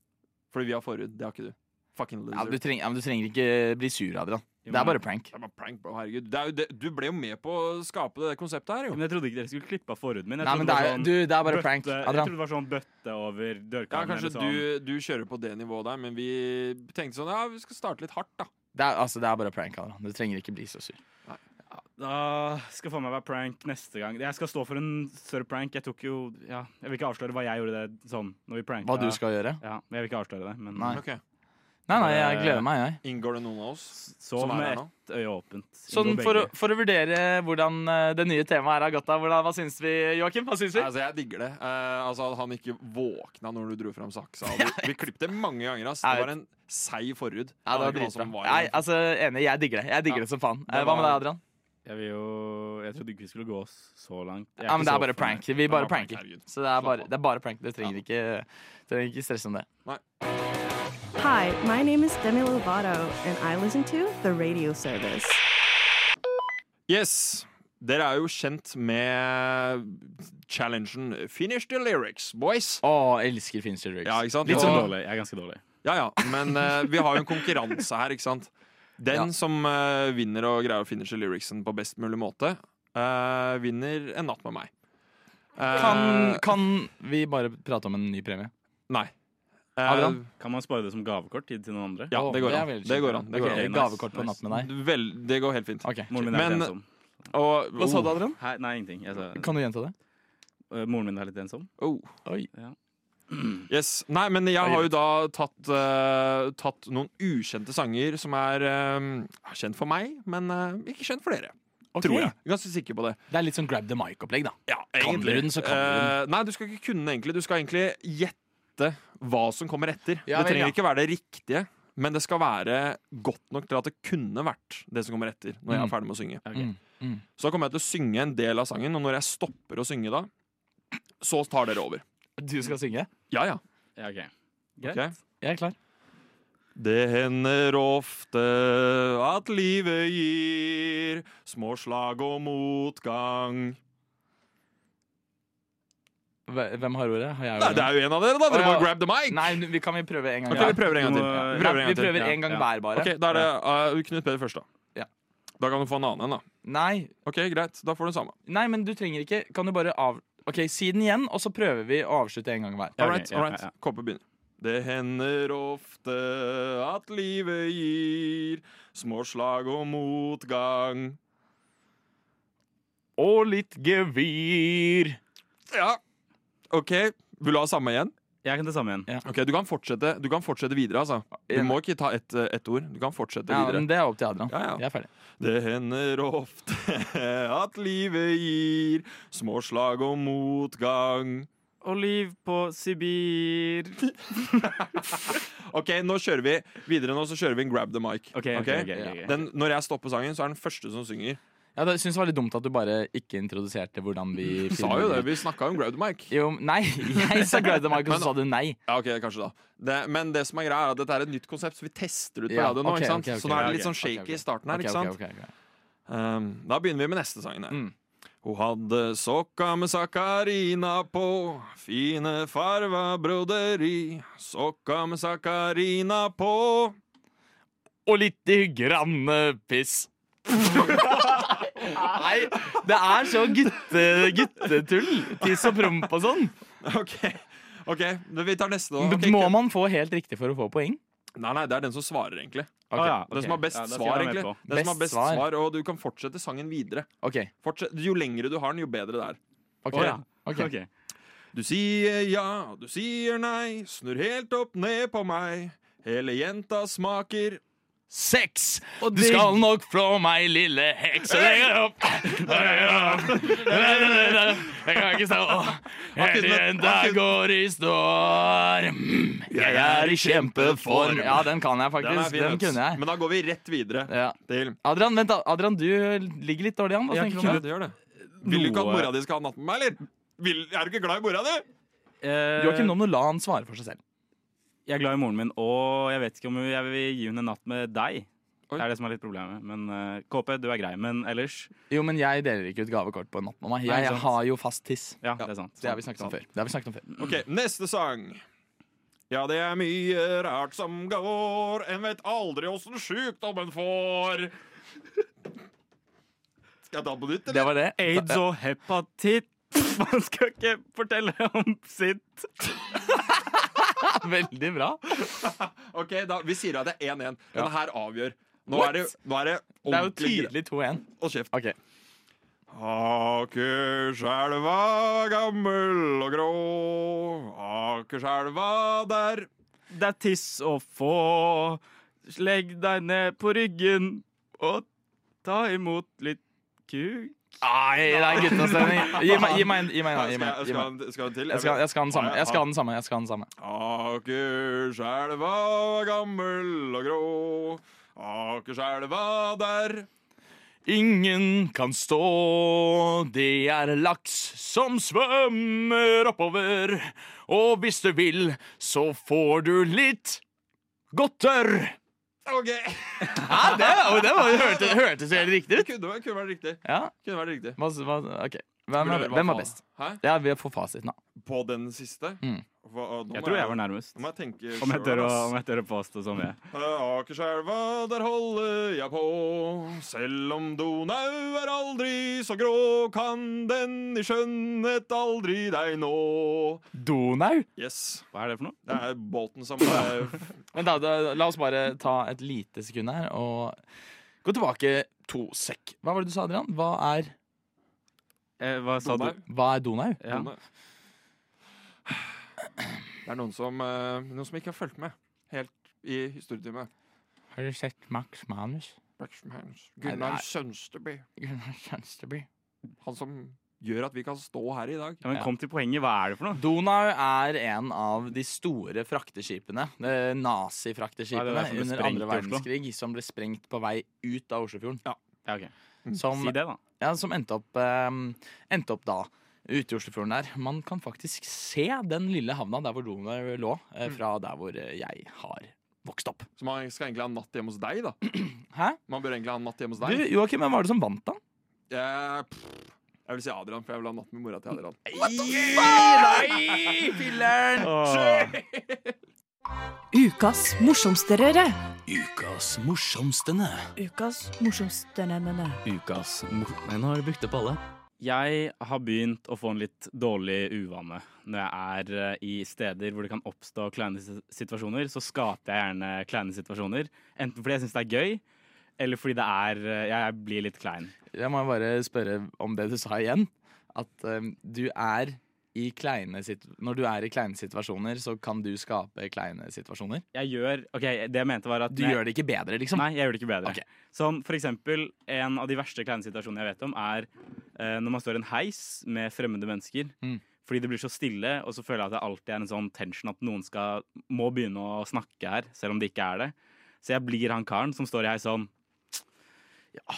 Speaker 5: Fordi vi har forhud. Det har ikke du. Fucking
Speaker 3: Ja,
Speaker 5: loser.
Speaker 3: du, treng, ja, men du trenger ikke bli sur, Adrian. Det er bare prank.
Speaker 5: Det er bare prank, bro. Herregud. Det er jo det, du ble jo med på å skape det konseptet her, jo.
Speaker 4: Men jeg trodde ikke dere skulle klippe av forhuden min. Jeg
Speaker 3: Nei,
Speaker 4: trodde
Speaker 3: men det er,
Speaker 4: var sånn
Speaker 3: du, det er bare
Speaker 4: bøtte-
Speaker 3: prank,
Speaker 5: eh,
Speaker 4: Jeg trodde
Speaker 3: Adrian.
Speaker 4: det var sånn bøtte over
Speaker 5: Ja,
Speaker 4: dørkarmen.
Speaker 5: Kanskje
Speaker 4: eller sånn.
Speaker 5: du, du kjører på det nivået der, men vi tenkte sånn Ja, vi skal starte litt hardt, da.
Speaker 3: Det er, altså, det er bare prank, Adrian. Du trenger ikke bli så sur.
Speaker 4: Da skal faen meg være prank neste gang. Jeg skal stå for en større prank. Jeg tok jo ja, Jeg vil ikke avsløre hva jeg gjorde det sånn når vi pranka.
Speaker 3: Hva du skal gjøre?
Speaker 4: Ja, men jeg vil ikke avsløre det, men
Speaker 3: Nei.
Speaker 5: Ok.
Speaker 3: Nei, nei, jeg gleder meg, jeg.
Speaker 5: Inngår det noen av oss?
Speaker 4: sov
Speaker 5: Som er her
Speaker 4: med
Speaker 5: nå?
Speaker 4: ett øye åpent.
Speaker 3: Sånn
Speaker 4: Inngå
Speaker 3: for å,
Speaker 4: begge.
Speaker 3: for å vurdere hvordan eh, det nye temaet her har gått av, hvordan, hva syns vi, Joakim? Hva syns vi?
Speaker 5: Nei, Altså, jeg digger det. Eh, altså, at han ikke våkna når du dro fram saksa. Vi, vi klippet det mange ganger. Ass. Det
Speaker 3: Jeg vet.
Speaker 5: var en seig
Speaker 3: Ja,
Speaker 5: forhud.
Speaker 3: det var
Speaker 5: Jeg vet ikke hva
Speaker 3: dritbra.
Speaker 5: som var i
Speaker 3: Nei,
Speaker 5: den.
Speaker 3: altså, enig, jeg digger det. Jeg digger
Speaker 5: Ja.
Speaker 3: det som faen. Eh,
Speaker 5: Det
Speaker 3: Hva med deg,
Speaker 5: var-
Speaker 3: Adrian?
Speaker 4: Jeg vil jo Jeg trodde ikke vi skulle gå så langt. Jeg
Speaker 3: Ja, men det
Speaker 4: ikke så
Speaker 3: er bare
Speaker 4: fornøyd.
Speaker 3: prank. Vi
Speaker 5: Det var
Speaker 3: bare
Speaker 5: prank,
Speaker 3: pranker.
Speaker 5: herregud.
Speaker 3: Så det er
Speaker 5: Slapp
Speaker 3: bare,
Speaker 5: av.
Speaker 3: det er bare prank. Du trenger ikke, trenger ikke stresse om det.
Speaker 1: Hi, my name is Demi Lovato, and I listen to the radio service.
Speaker 5: Yes! Dere er jo kjent med challengen 'Finish the lyrics', boys.
Speaker 3: Å, jeg elsker Finster Riggs.
Speaker 5: Ja, ikke sant?
Speaker 4: Litt
Speaker 5: Og-
Speaker 4: sånn dårlig. Jeg er ganske dårlig.
Speaker 5: Ja, ja, men eh, vi har jo en konkurranse her, ikke sant? Den som eh, vinner og greier å finishe lyricsen på best mulig måte, eh, vinner en natt med meg. Eh,
Speaker 3: Kan, kan vi bare prate om en ny premie?
Speaker 5: Nei. Eh,
Speaker 3: Adrian?
Speaker 4: Kan man spare det som gavekort til til noen andre?
Speaker 5: ja,
Speaker 3: Å,
Speaker 5: det går
Speaker 3: er
Speaker 5: an.
Speaker 3: veldig
Speaker 5: Det
Speaker 3: kjipt.
Speaker 5: går an. Det går
Speaker 3: Ok,
Speaker 5: an.
Speaker 4: an.
Speaker 3: Gavekort på
Speaker 4: Nice,
Speaker 3: natt med deg.
Speaker 5: Vel, det går helt fint.
Speaker 3: Ok.
Speaker 4: Moren min er sånn.
Speaker 5: Men-
Speaker 4: litt ensom.
Speaker 5: Og,
Speaker 3: Hva sa du,
Speaker 5: oh,
Speaker 3: Adrian?
Speaker 4: Hæ? Nei, ingenting. Jeg sa,
Speaker 3: Kan du gjenta det?
Speaker 4: øh, moren min er litt ensom.
Speaker 5: oh.
Speaker 3: Oi.
Speaker 5: Yes. Nei, men jeg har jo da tatt, eh, tatt noen ukjente sanger som er eh, kjent for meg, men eh, ikke kjent for dere. Tror jeg. jeg er ganske sikker på det.
Speaker 3: Det er litt sånn grab the mic-opplegg, da.
Speaker 5: Ja,
Speaker 3: Kan du den, så kan du den.
Speaker 5: Eh, nei, du skal ikke kunne den egentlig. Du skal egentlig gjette hva som kommer etter.
Speaker 3: Ja, vel,
Speaker 5: det trenger
Speaker 3: ja.
Speaker 5: ikke være det riktige, men det skal være godt nok til at det kunne vært det som kommer etter. Når jeg
Speaker 3: Mm.
Speaker 5: er ferdig med å synge
Speaker 3: Mm, mm.
Speaker 5: Så kommer jeg til å synge en del av sangen, og når jeg stopper å synge da, så tar dere over.
Speaker 3: Du skal synge?
Speaker 5: Ja, ja.
Speaker 4: Ja, ok.
Speaker 5: Ok?
Speaker 4: Greit.
Speaker 3: Jeg er klar.
Speaker 5: Det hender ofte at livet gir små slag og motgang.
Speaker 3: Hve- Hvem har ordet? Har jeg
Speaker 5: Nei,
Speaker 3: ordet?
Speaker 5: det er jo en av dere, da! Dere
Speaker 3: Å, ja.
Speaker 5: må grab the mic!
Speaker 3: Nei, vi kan vi prøve en gang
Speaker 5: Ok,
Speaker 3: til?
Speaker 5: vi prøver en gang til.
Speaker 4: Du må-
Speaker 5: Vi prøver
Speaker 3: Nei,
Speaker 5: en
Speaker 3: vi
Speaker 5: gang til.
Speaker 3: prøver
Speaker 4: Ja,
Speaker 3: en gang
Speaker 4: ja.
Speaker 3: hver, bare.
Speaker 5: Ok, Da er det uh, Knut Peder først, da.
Speaker 3: Ja.
Speaker 5: Da kan du få en annen en, da.
Speaker 3: Nei,
Speaker 5: Ok, Greit, da får du den samme.
Speaker 3: nei, men du trenger ikke Kan du bare av... Ok, Si den igjen, og så prøver vi å avslutte en gang hver.
Speaker 4: Ja, ok,
Speaker 5: All right,
Speaker 4: ja,
Speaker 5: all right.
Speaker 4: ja, ja.
Speaker 5: Kåpe begynner. Det hender ofte at livet gir små slag og motgang.
Speaker 3: Og litt gevir.
Speaker 5: Ja. OK, vil du ha samme igjen?
Speaker 4: Jeg kan ta samme igjen.
Speaker 5: Ok, Du kan fortsette, du kan fortsette videre, altså. Du må ikke ta ett eh, ett ord. Du kan fortsette
Speaker 3: Ja,
Speaker 5: videre.
Speaker 3: men Det er opp til Adrian.
Speaker 5: Ja, ja.
Speaker 3: Jeg er ferdig.
Speaker 5: Det hender ofte at livet gir små slag og motgang.
Speaker 4: Og liv på Sibir.
Speaker 5: Ok, nå kjører vi videre nå, så kjører vi en grab the mic.
Speaker 4: Ok, ok,
Speaker 5: Ok?
Speaker 4: ok, ok, ok.
Speaker 5: Den, når jeg stopper sangen, så er den første som synger.
Speaker 3: Ja, det synes det var litt dumt at du bare ikke introduserte hvordan vi
Speaker 5: Sa
Speaker 3: filmer
Speaker 5: jo det,
Speaker 3: det.
Speaker 5: vi snakka jo om grab the mic.
Speaker 3: Jo, nei, jeg sa Greta Mike, og så sa du nei.
Speaker 5: Ja, ok, kanskje da. Det, men det som er greia, er at dette er et nytt konsept, så vi tester ut på
Speaker 3: Ja,
Speaker 5: radio nå.
Speaker 3: ok,
Speaker 5: ikke sant?
Speaker 3: ok, ok,
Speaker 5: så nå er det
Speaker 4: ja,
Speaker 5: litt
Speaker 4: ok,
Speaker 5: sånn shaky
Speaker 3: ok, ok.
Speaker 5: i starten her,
Speaker 3: Ok,
Speaker 5: ikke sant?
Speaker 3: ok, ok, ok.
Speaker 5: Um, da begynner vi med neste sangen her.
Speaker 3: Mm.
Speaker 5: Hun hadde sokka med Sakarina på, fine farva broderi. Sokka med Sakarina på.
Speaker 3: Og lite grann piss. Nei, det er så gutte, guttetull. Tiss og promp og sånn.
Speaker 5: Ok, ok, men vi tar neste da.
Speaker 3: Men
Speaker 5: Ok,
Speaker 3: Må
Speaker 5: ikke-
Speaker 3: man få helt riktig for å få poeng?
Speaker 5: Nei, nei, det er den som svarer, egentlig.
Speaker 3: Ok,
Speaker 4: Å, ja,
Speaker 5: Den
Speaker 4: ok.
Speaker 5: som har best
Speaker 4: Ja, da skal
Speaker 5: svar,
Speaker 4: jeg være med
Speaker 5: egentlig.
Speaker 4: på.
Speaker 5: Den som har
Speaker 3: Best
Speaker 5: best
Speaker 3: svar.
Speaker 5: svar. Og du kan fortsette sangen videre.
Speaker 3: ok,
Speaker 5: Fortsett, jo lengre du har den, jo bedre det er.
Speaker 3: ok,
Speaker 4: Å, ja.
Speaker 3: ok.
Speaker 4: Ok.
Speaker 5: Du sier ja, du sier nei, snur helt opp ned på meg. Hele jenta smaker
Speaker 3: Sex! Du skal nok flå meg, lille heks. Lenger opp! Jeg kan ikke stå Hele jenta går i står. Jeg er i kjempeform. Ja, den kan jeg
Speaker 5: Den er
Speaker 3: faktisk.
Speaker 5: fin,
Speaker 3: Den
Speaker 5: vet du.
Speaker 3: kunne jeg.
Speaker 5: Men da går vi rett videre
Speaker 3: Ja.
Speaker 5: til
Speaker 3: Adrian, vent da. Adrian, du ligger litt dårlig an. Hva tenker du om det?
Speaker 5: det gjør det. Vil du ikke at
Speaker 4: Noe-
Speaker 5: mora di skal ha natt med meg, eller? Vil, er du ikke glad i mora di?
Speaker 4: Eh,
Speaker 3: Joakim, nå må du la han svare for seg selv.
Speaker 4: jeg er glad i moren min, og jeg vet ikke om jeg vil gi henne en natt med deg. Det er det som er litt problemet. Men eh, KP, du er grei. Men ellers
Speaker 3: Jo, men jeg deler ikke ut gavekort på en natt med meg.
Speaker 4: Nei, ikke
Speaker 3: Jeg
Speaker 4: sant.
Speaker 3: har jo fast tiss.
Speaker 4: Ja, det er sant.
Speaker 3: Det har vi snakket om før. Det har vi snakket om før.
Speaker 5: OK, neste sang. Ja, det er mye rart som går. En vet aldri åssen sjukdom en får. Skal jeg ta på nytt, eller?
Speaker 3: Det var det.
Speaker 4: Aids og hepatitt. Man skal ikke fortelle om sitt.
Speaker 3: Veldig bra.
Speaker 5: OK, da, vi sier at det er 1-1. Denne her avgjør. Nå
Speaker 3: What?
Speaker 5: er det, nå er det
Speaker 3: Det er jo
Speaker 5: ordentlig gre-
Speaker 3: tydelig 2-1.
Speaker 5: Hold kjeft.
Speaker 3: Ok.
Speaker 5: Akerselva gammel og grå. Akerselva der.
Speaker 4: Det er tiss å få. Legg deg ned på ryggen og ta imot litt kuk.
Speaker 3: Nei, det er guttastemning. Gi meg gi meg en. Gi meg en,
Speaker 5: Skal
Speaker 3: gi meg en,
Speaker 5: jeg-
Speaker 3: gi meg
Speaker 5: skal
Speaker 3: en.
Speaker 5: han- Skal han til?
Speaker 3: Jeg skal, jeg skal ha den samme. Jeg skal ha den samme. Jeg skal ha den samme.
Speaker 5: Akerselva gammel og grå. Akerselva der.
Speaker 3: Ingen kan stå, det er laks som svømmer oppover. Og hvis du vil, så får du litt godtør.
Speaker 5: OK!
Speaker 3: Ja, det, var- det var, hørte, hørtes helt riktig
Speaker 5: Det
Speaker 3: ut.
Speaker 5: kunne, vært- kunne vært riktig.
Speaker 3: Ja,
Speaker 5: Kunne vært riktig.
Speaker 3: hva, hva, ok. Hvem, er, hvem var best?
Speaker 5: Hæ?
Speaker 3: Ja, Vi får fasiten, da.
Speaker 5: På den siste?
Speaker 3: Mm.
Speaker 5: Hva- nå må
Speaker 4: Jeg tror jeg var nærmest.
Speaker 5: Nå må jeg tenke
Speaker 4: Om jeg
Speaker 5: selv,
Speaker 4: tør å,
Speaker 5: ass. Eh,
Speaker 4: om jeg tør å påstå som jeg.
Speaker 5: Akerselva, der holder jeg på. Selv om Donau er aldri så grå, kan den i skjønnhet aldri deg nå.
Speaker 3: Donau?
Speaker 5: Yes.
Speaker 4: Hva er det for noe?
Speaker 5: Det er båten som er
Speaker 3: Men da, da, la oss bare ta et lite sekund her og gå tilbake to sekk. Hva var det du sa, Adrian? Hva er,
Speaker 4: Eh, hva sa du?
Speaker 5: Donau.
Speaker 3: hva er Donau?
Speaker 4: Ja.
Speaker 5: Det er noen som, eh, noen som ikke har fulgt med helt i historietimen.
Speaker 3: Har du sett Max Manus?
Speaker 5: Blacksmans.
Speaker 3: Nei, det
Speaker 5: Gunnar
Speaker 3: er-
Speaker 5: Sønsteby.
Speaker 3: Gunnar Sønsteby.
Speaker 5: Han som gjør at vi kan stå her i dag.
Speaker 4: Ja, men kom til poenget. Hva er det for noe?
Speaker 3: Donau er en av de store frakteskipene, eh,
Speaker 4: Ja, det var
Speaker 3: nazifrakteskipene,
Speaker 4: det som ble
Speaker 3: under
Speaker 4: sprengt
Speaker 3: andre
Speaker 4: i Oslo.
Speaker 3: verdenskrig som ble sprengt på vei ut av Oslofjorden. Mm.
Speaker 4: Ja, ok.
Speaker 3: Som,
Speaker 4: Si det, da.
Speaker 3: ja, som endte, opp, eh, endte opp da ute i Oslofjorden der. Man kan faktisk se den lille havna der hvor Donau lå, eh,
Speaker 4: Mm.
Speaker 3: fra der hvor eh, jeg har vokst opp.
Speaker 5: Så man skal egentlig ha en natt hjemme hos deg, da.
Speaker 3: Hæ?
Speaker 5: Man bør egentlig ha en natt hjemme hos
Speaker 3: Du,
Speaker 5: deg.
Speaker 3: Joakim, hvem var det som vant, da?
Speaker 5: Jeg, pff, jeg vil si Adrian, for jeg vil ha natt med mora til Adrian.
Speaker 3: Nei! Filler'n!
Speaker 10: Ukas morsomste røre.
Speaker 7: Ukas morsomstene.
Speaker 10: Ukas morsomste nø-nø-nø.
Speaker 7: Ukas mor... Nei, nå har jeg brukt opp alle.
Speaker 4: Jeg har begynt å få en litt dårlig uvane. Når jeg er eh, i steder hvor det kan oppstå kleine si- situasjoner, så skaper jeg gjerne kleine situasjoner. Enten fordi jeg syns det er gøy, eller fordi det er eh, Jeg, jeg blir litt klein.
Speaker 3: Jeg må bare spørre om det du sa igjen. At um, du er i kleine sit Når du er i kleine situasjoner, så kan du skape kleine situasjoner.
Speaker 4: Jeg gjør OK, det jeg mente var at
Speaker 3: Du gjør det ikke bedre, liksom.
Speaker 4: Nei, jeg gjør det ikke bedre.
Speaker 3: Ok.
Speaker 4: Som for eksempel, en av de verste kleine situasjonene jeg vet om, er eh, når man står i en heis med fremmede mennesker.
Speaker 3: Mm.
Speaker 4: Fordi det blir så stille, og så føler jeg at det alltid er en sånn tension at noen skal, må begynne å snakke her, selv om det ikke er det. Så jeg blir han karen som står i heis sånn Ja,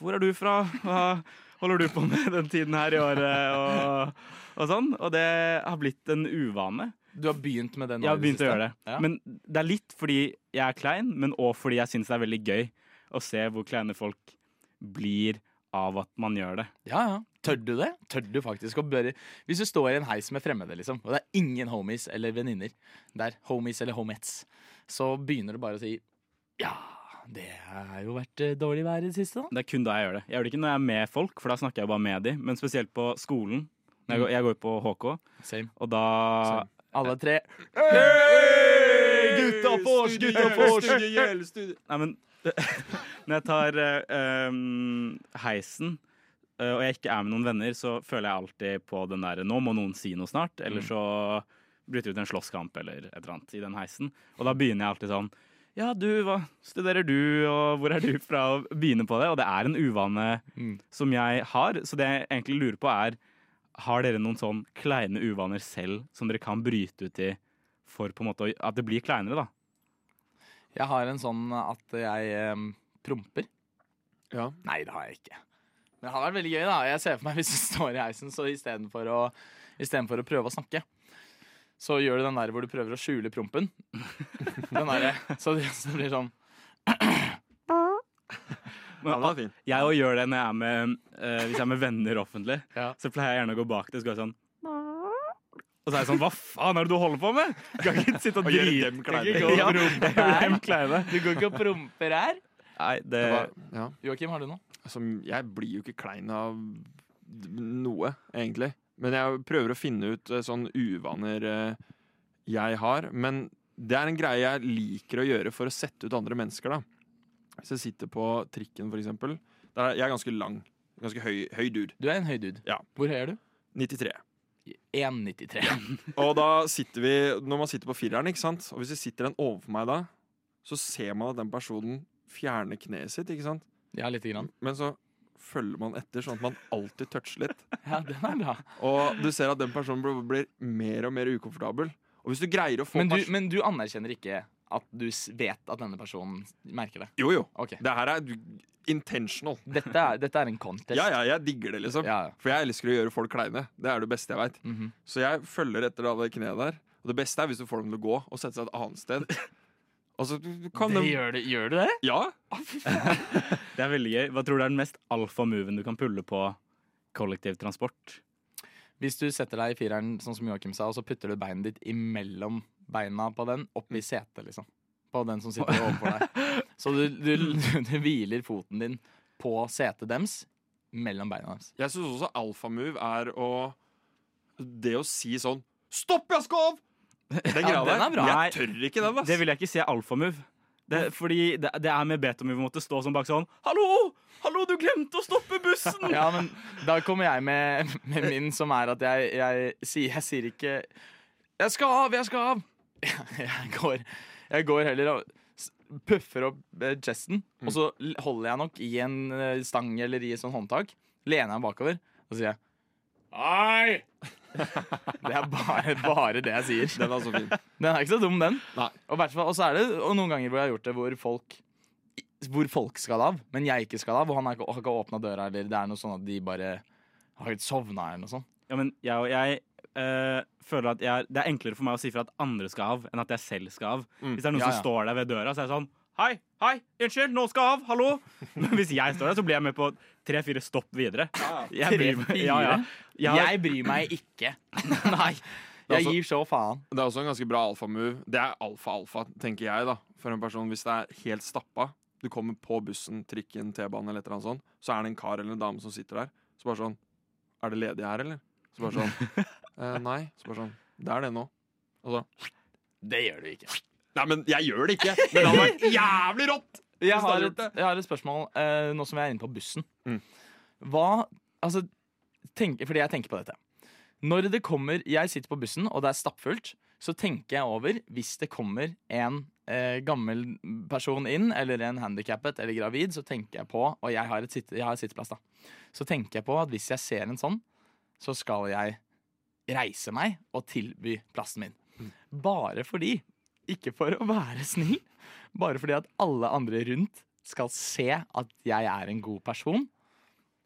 Speaker 4: hvor er du fra? Hva holder du på med den tiden her i året? Og, og sånn. Og det har blitt en uvane.
Speaker 3: Du har begynt med den.
Speaker 4: Jeg har begynt å gjøre det.
Speaker 3: Ja.
Speaker 4: Men det er litt fordi jeg er klein, men òg fordi jeg syns det er veldig gøy å se hvor kleine folk blir av at man gjør det.
Speaker 3: Ja, ja. Tør du det? Tør du faktisk å bare Hvis du står i en heis med fremmede, liksom, og det er ingen homies eller venninner der, homies eller homettes, så begynner du bare å si Ja, det har jo vært eh, dårlig vær i det siste, da.
Speaker 4: Det er kun da jeg gjør det. Jeg gjør det ikke når jeg er med folk, for da snakker jeg bare med de, men spesielt på skolen. Når Jeg går, jeg går på HK,
Speaker 3: Same.
Speaker 4: og da
Speaker 3: Alle tre.
Speaker 5: Gutta vors, gutta vors! Studiegjeld, studie...
Speaker 4: Nei, men Når jeg tar eh, em, heisen eh, og jeg ikke er med noen venner, så føler jeg alltid på den derre Nå må noen si noe snart, eller så bryter det ut en slåsskamp eller et eller annet i den heisen. Og da begynner jeg alltid sånn Ja, du, hva studerer du, og hvor er du fra? Og begynner på det. Og det er en uvane
Speaker 3: Mm.
Speaker 4: som jeg har, så det jeg egentlig lurer på, er Har dere noen sånn kleine uvaner selv som dere kan bryte ut i for på en måte å- at det blir kleinere, da?
Speaker 3: Jeg har en sånn at jeg em, promper.
Speaker 5: Ja.
Speaker 3: Nei, det har jeg ikke. Men det hadde vært veldig gøy, da. Jeg ser for meg hvis du står i heisen, så istedenfor å, istedenfor å prøve å snakke, så gjør du den der hvor du prøver å skjule prompen. Den derre. Så det så det blir sånn
Speaker 4: Men, jeg òg gjør det når jeg er med, eh, hvis jeg er med venner offentlig. Så pleier jeg gjerne å gå bak det og så går jeg sånn Og så er jeg sånn Hva faen er det du holder på med?! Du kan ikke sitte og
Speaker 3: Og gjøre
Speaker 4: drite
Speaker 3: dem kleine.
Speaker 4: ikke gå og
Speaker 3: Ja.
Speaker 4: prompe
Speaker 3: Nei.
Speaker 4: dem kleine.
Speaker 3: Du går ikke og promper her?
Speaker 4: Nei, det,
Speaker 3: Joakim, har du noe?
Speaker 5: Altså, jeg blir jo ikke klein av noe, egentlig. Men jeg prøver å finne ut eh, sånne uvaner eh, jeg har. Men det er en greie jeg liker å gjøre for å sette ut andre mennesker, da. Hvis jeg sitter på trikken, for eksempel. Der er, jeg er ganske lang. Ganske høy, høy dude.
Speaker 3: Du er en høy dude.
Speaker 5: Ja.
Speaker 3: Hvor høy er du?
Speaker 5: 93.
Speaker 3: 1,93.
Speaker 5: Og da sitter vi, når man sitter på fireren, ikke sant? og hvis det sitter en overfor meg da, så ser man at den personen fjerner kneet sitt, ikke sant?
Speaker 3: Ja, lite grann.
Speaker 5: Men så følger man etter, sånn at man alltid toucher litt.
Speaker 3: Ja, den er bra.
Speaker 5: Og du ser at den personen blir- blir mer og mer ukomfortabel. Og hvis du greier å få
Speaker 3: Men du,
Speaker 5: pers-
Speaker 3: men du anerkjenner ikke at du s- vet at denne personen merker det?
Speaker 5: Jo, jo.
Speaker 3: Ok.
Speaker 5: Det her er du- intentional.
Speaker 3: Dette er, dette er en contest.
Speaker 5: Ja, ja, jeg digger det, liksom.
Speaker 3: Ja, ja.
Speaker 5: For jeg elsker å gjøre folk kleine. Det er det beste jeg veit.
Speaker 3: Mhm.
Speaker 5: Så jeg følger etter da det kneet der. Og det beste er hvis du får dem til å gå og sette seg et annet sted. Og så kan
Speaker 3: Det
Speaker 5: de
Speaker 3: gjør, det, gjør du det?
Speaker 5: Ja!
Speaker 4: det er veldig gøy. Hva tror du er den mest alfa-moven du kan pulle på kollektivtransport?
Speaker 3: Hvis du setter deg i fireren, sånn som Joakim sa, og så putter du beinet ditt imellom beina på den, opp i setet, liksom. På den som sitter overfor deg. Så du, du, du hviler foten din på setet dems, mellom beina deres.
Speaker 5: Jeg syns også alfamove er å Det å si sånn Stopp, jeg skal av! Den
Speaker 3: Ja,
Speaker 5: greia
Speaker 3: den er
Speaker 5: der.
Speaker 3: bra.
Speaker 5: Jeg tør ikke den, ass.
Speaker 4: Det vil jeg ikke si er alfamove. Det, fordi det, det er med betamove å måtte stå sånn bak sånn Hallo! Hallo, du glemte å stoppe bussen!
Speaker 3: Ja, men da kommer jeg med, med min, som er at jeg, jeg, sier, jeg sier ikke Jeg skal av, jeg skal av! Jeg går, jeg går heller og s- puffer opp eh, chesten,
Speaker 5: Mm.
Speaker 3: og så l- holder jeg nok i en eh, stang eller i et sånt håndtak. Lener jeg bakover, og så sier jeg Hei! Det er bare, bare det jeg sier.
Speaker 5: Den er så fin.
Speaker 3: Den er ikke så dum, den.
Speaker 5: Nei.
Speaker 3: Og, hvert fall- og så er det og noen ganger hvor jeg har gjort det hvor folk Hvor folk skal av, men jeg ikke skal av. Og han er ikke- har ikke åpna døra, eller det er noe sånn at de bare har sovna eller noe sånt.
Speaker 4: Ja, men jeg, og jeg eh, føler at jeg, det er enklere for meg å si fra at andre skal av, enn at jeg selv skal av. Hvis det er noen
Speaker 3: Ja, ja.
Speaker 4: som står der ved døra, så er det sånn Hei, hei, unnskyld, nå skal jeg av, hallo! Men hvis jeg står der, så blir jeg med på tre-fire stopp videre. Jeg bryr meg, ja, ja. Jeg, har-
Speaker 3: Jeg bryr meg ikke. Nei.
Speaker 5: er
Speaker 3: Jeg
Speaker 5: altså-
Speaker 3: gir så faen.
Speaker 5: Det er også en ganske bra alfamove. Det er alfa-alfa, tenker jeg, da. For en person, hvis det er helt stappa, du kommer på bussen, trikken, T-banen eller et eller annet sånt, så er det en kar eller en dame som sitter der, så bare sånn Er det ledig her, eller? Så bare sånn eh, Nei. Så bare sånn Det er det nå. Og så
Speaker 3: Det gjør du ikke.
Speaker 5: Nei, men jeg gjør det ikke! Men det hadde vært jævlig rått!
Speaker 3: Jeg
Speaker 5: Hvis du
Speaker 3: har
Speaker 5: hadde
Speaker 3: et,
Speaker 5: gjort det.
Speaker 3: jeg har et spørsmål eh, nå som vi er inne på bussen.
Speaker 5: Mm.
Speaker 3: Hva Altså, tenk, fordi jeg tenker på dette. Når det kommer Jeg sitter på bussen, og det er stappfullt. Så tenker jeg over hvis det kommer en eh, gammel person inn, eller en handikappet eller gravid, så tenker jeg på Og jeg har, et sitte, jeg har sitteplass, da. Så tenker jeg på at hvis jeg ser en sånn, så skal jeg reise meg og tilby plassen min.
Speaker 5: Mm.
Speaker 3: Bare fordi. Ikke for å være snill, bare fordi at alle andre rundt skal se at jeg er en god person.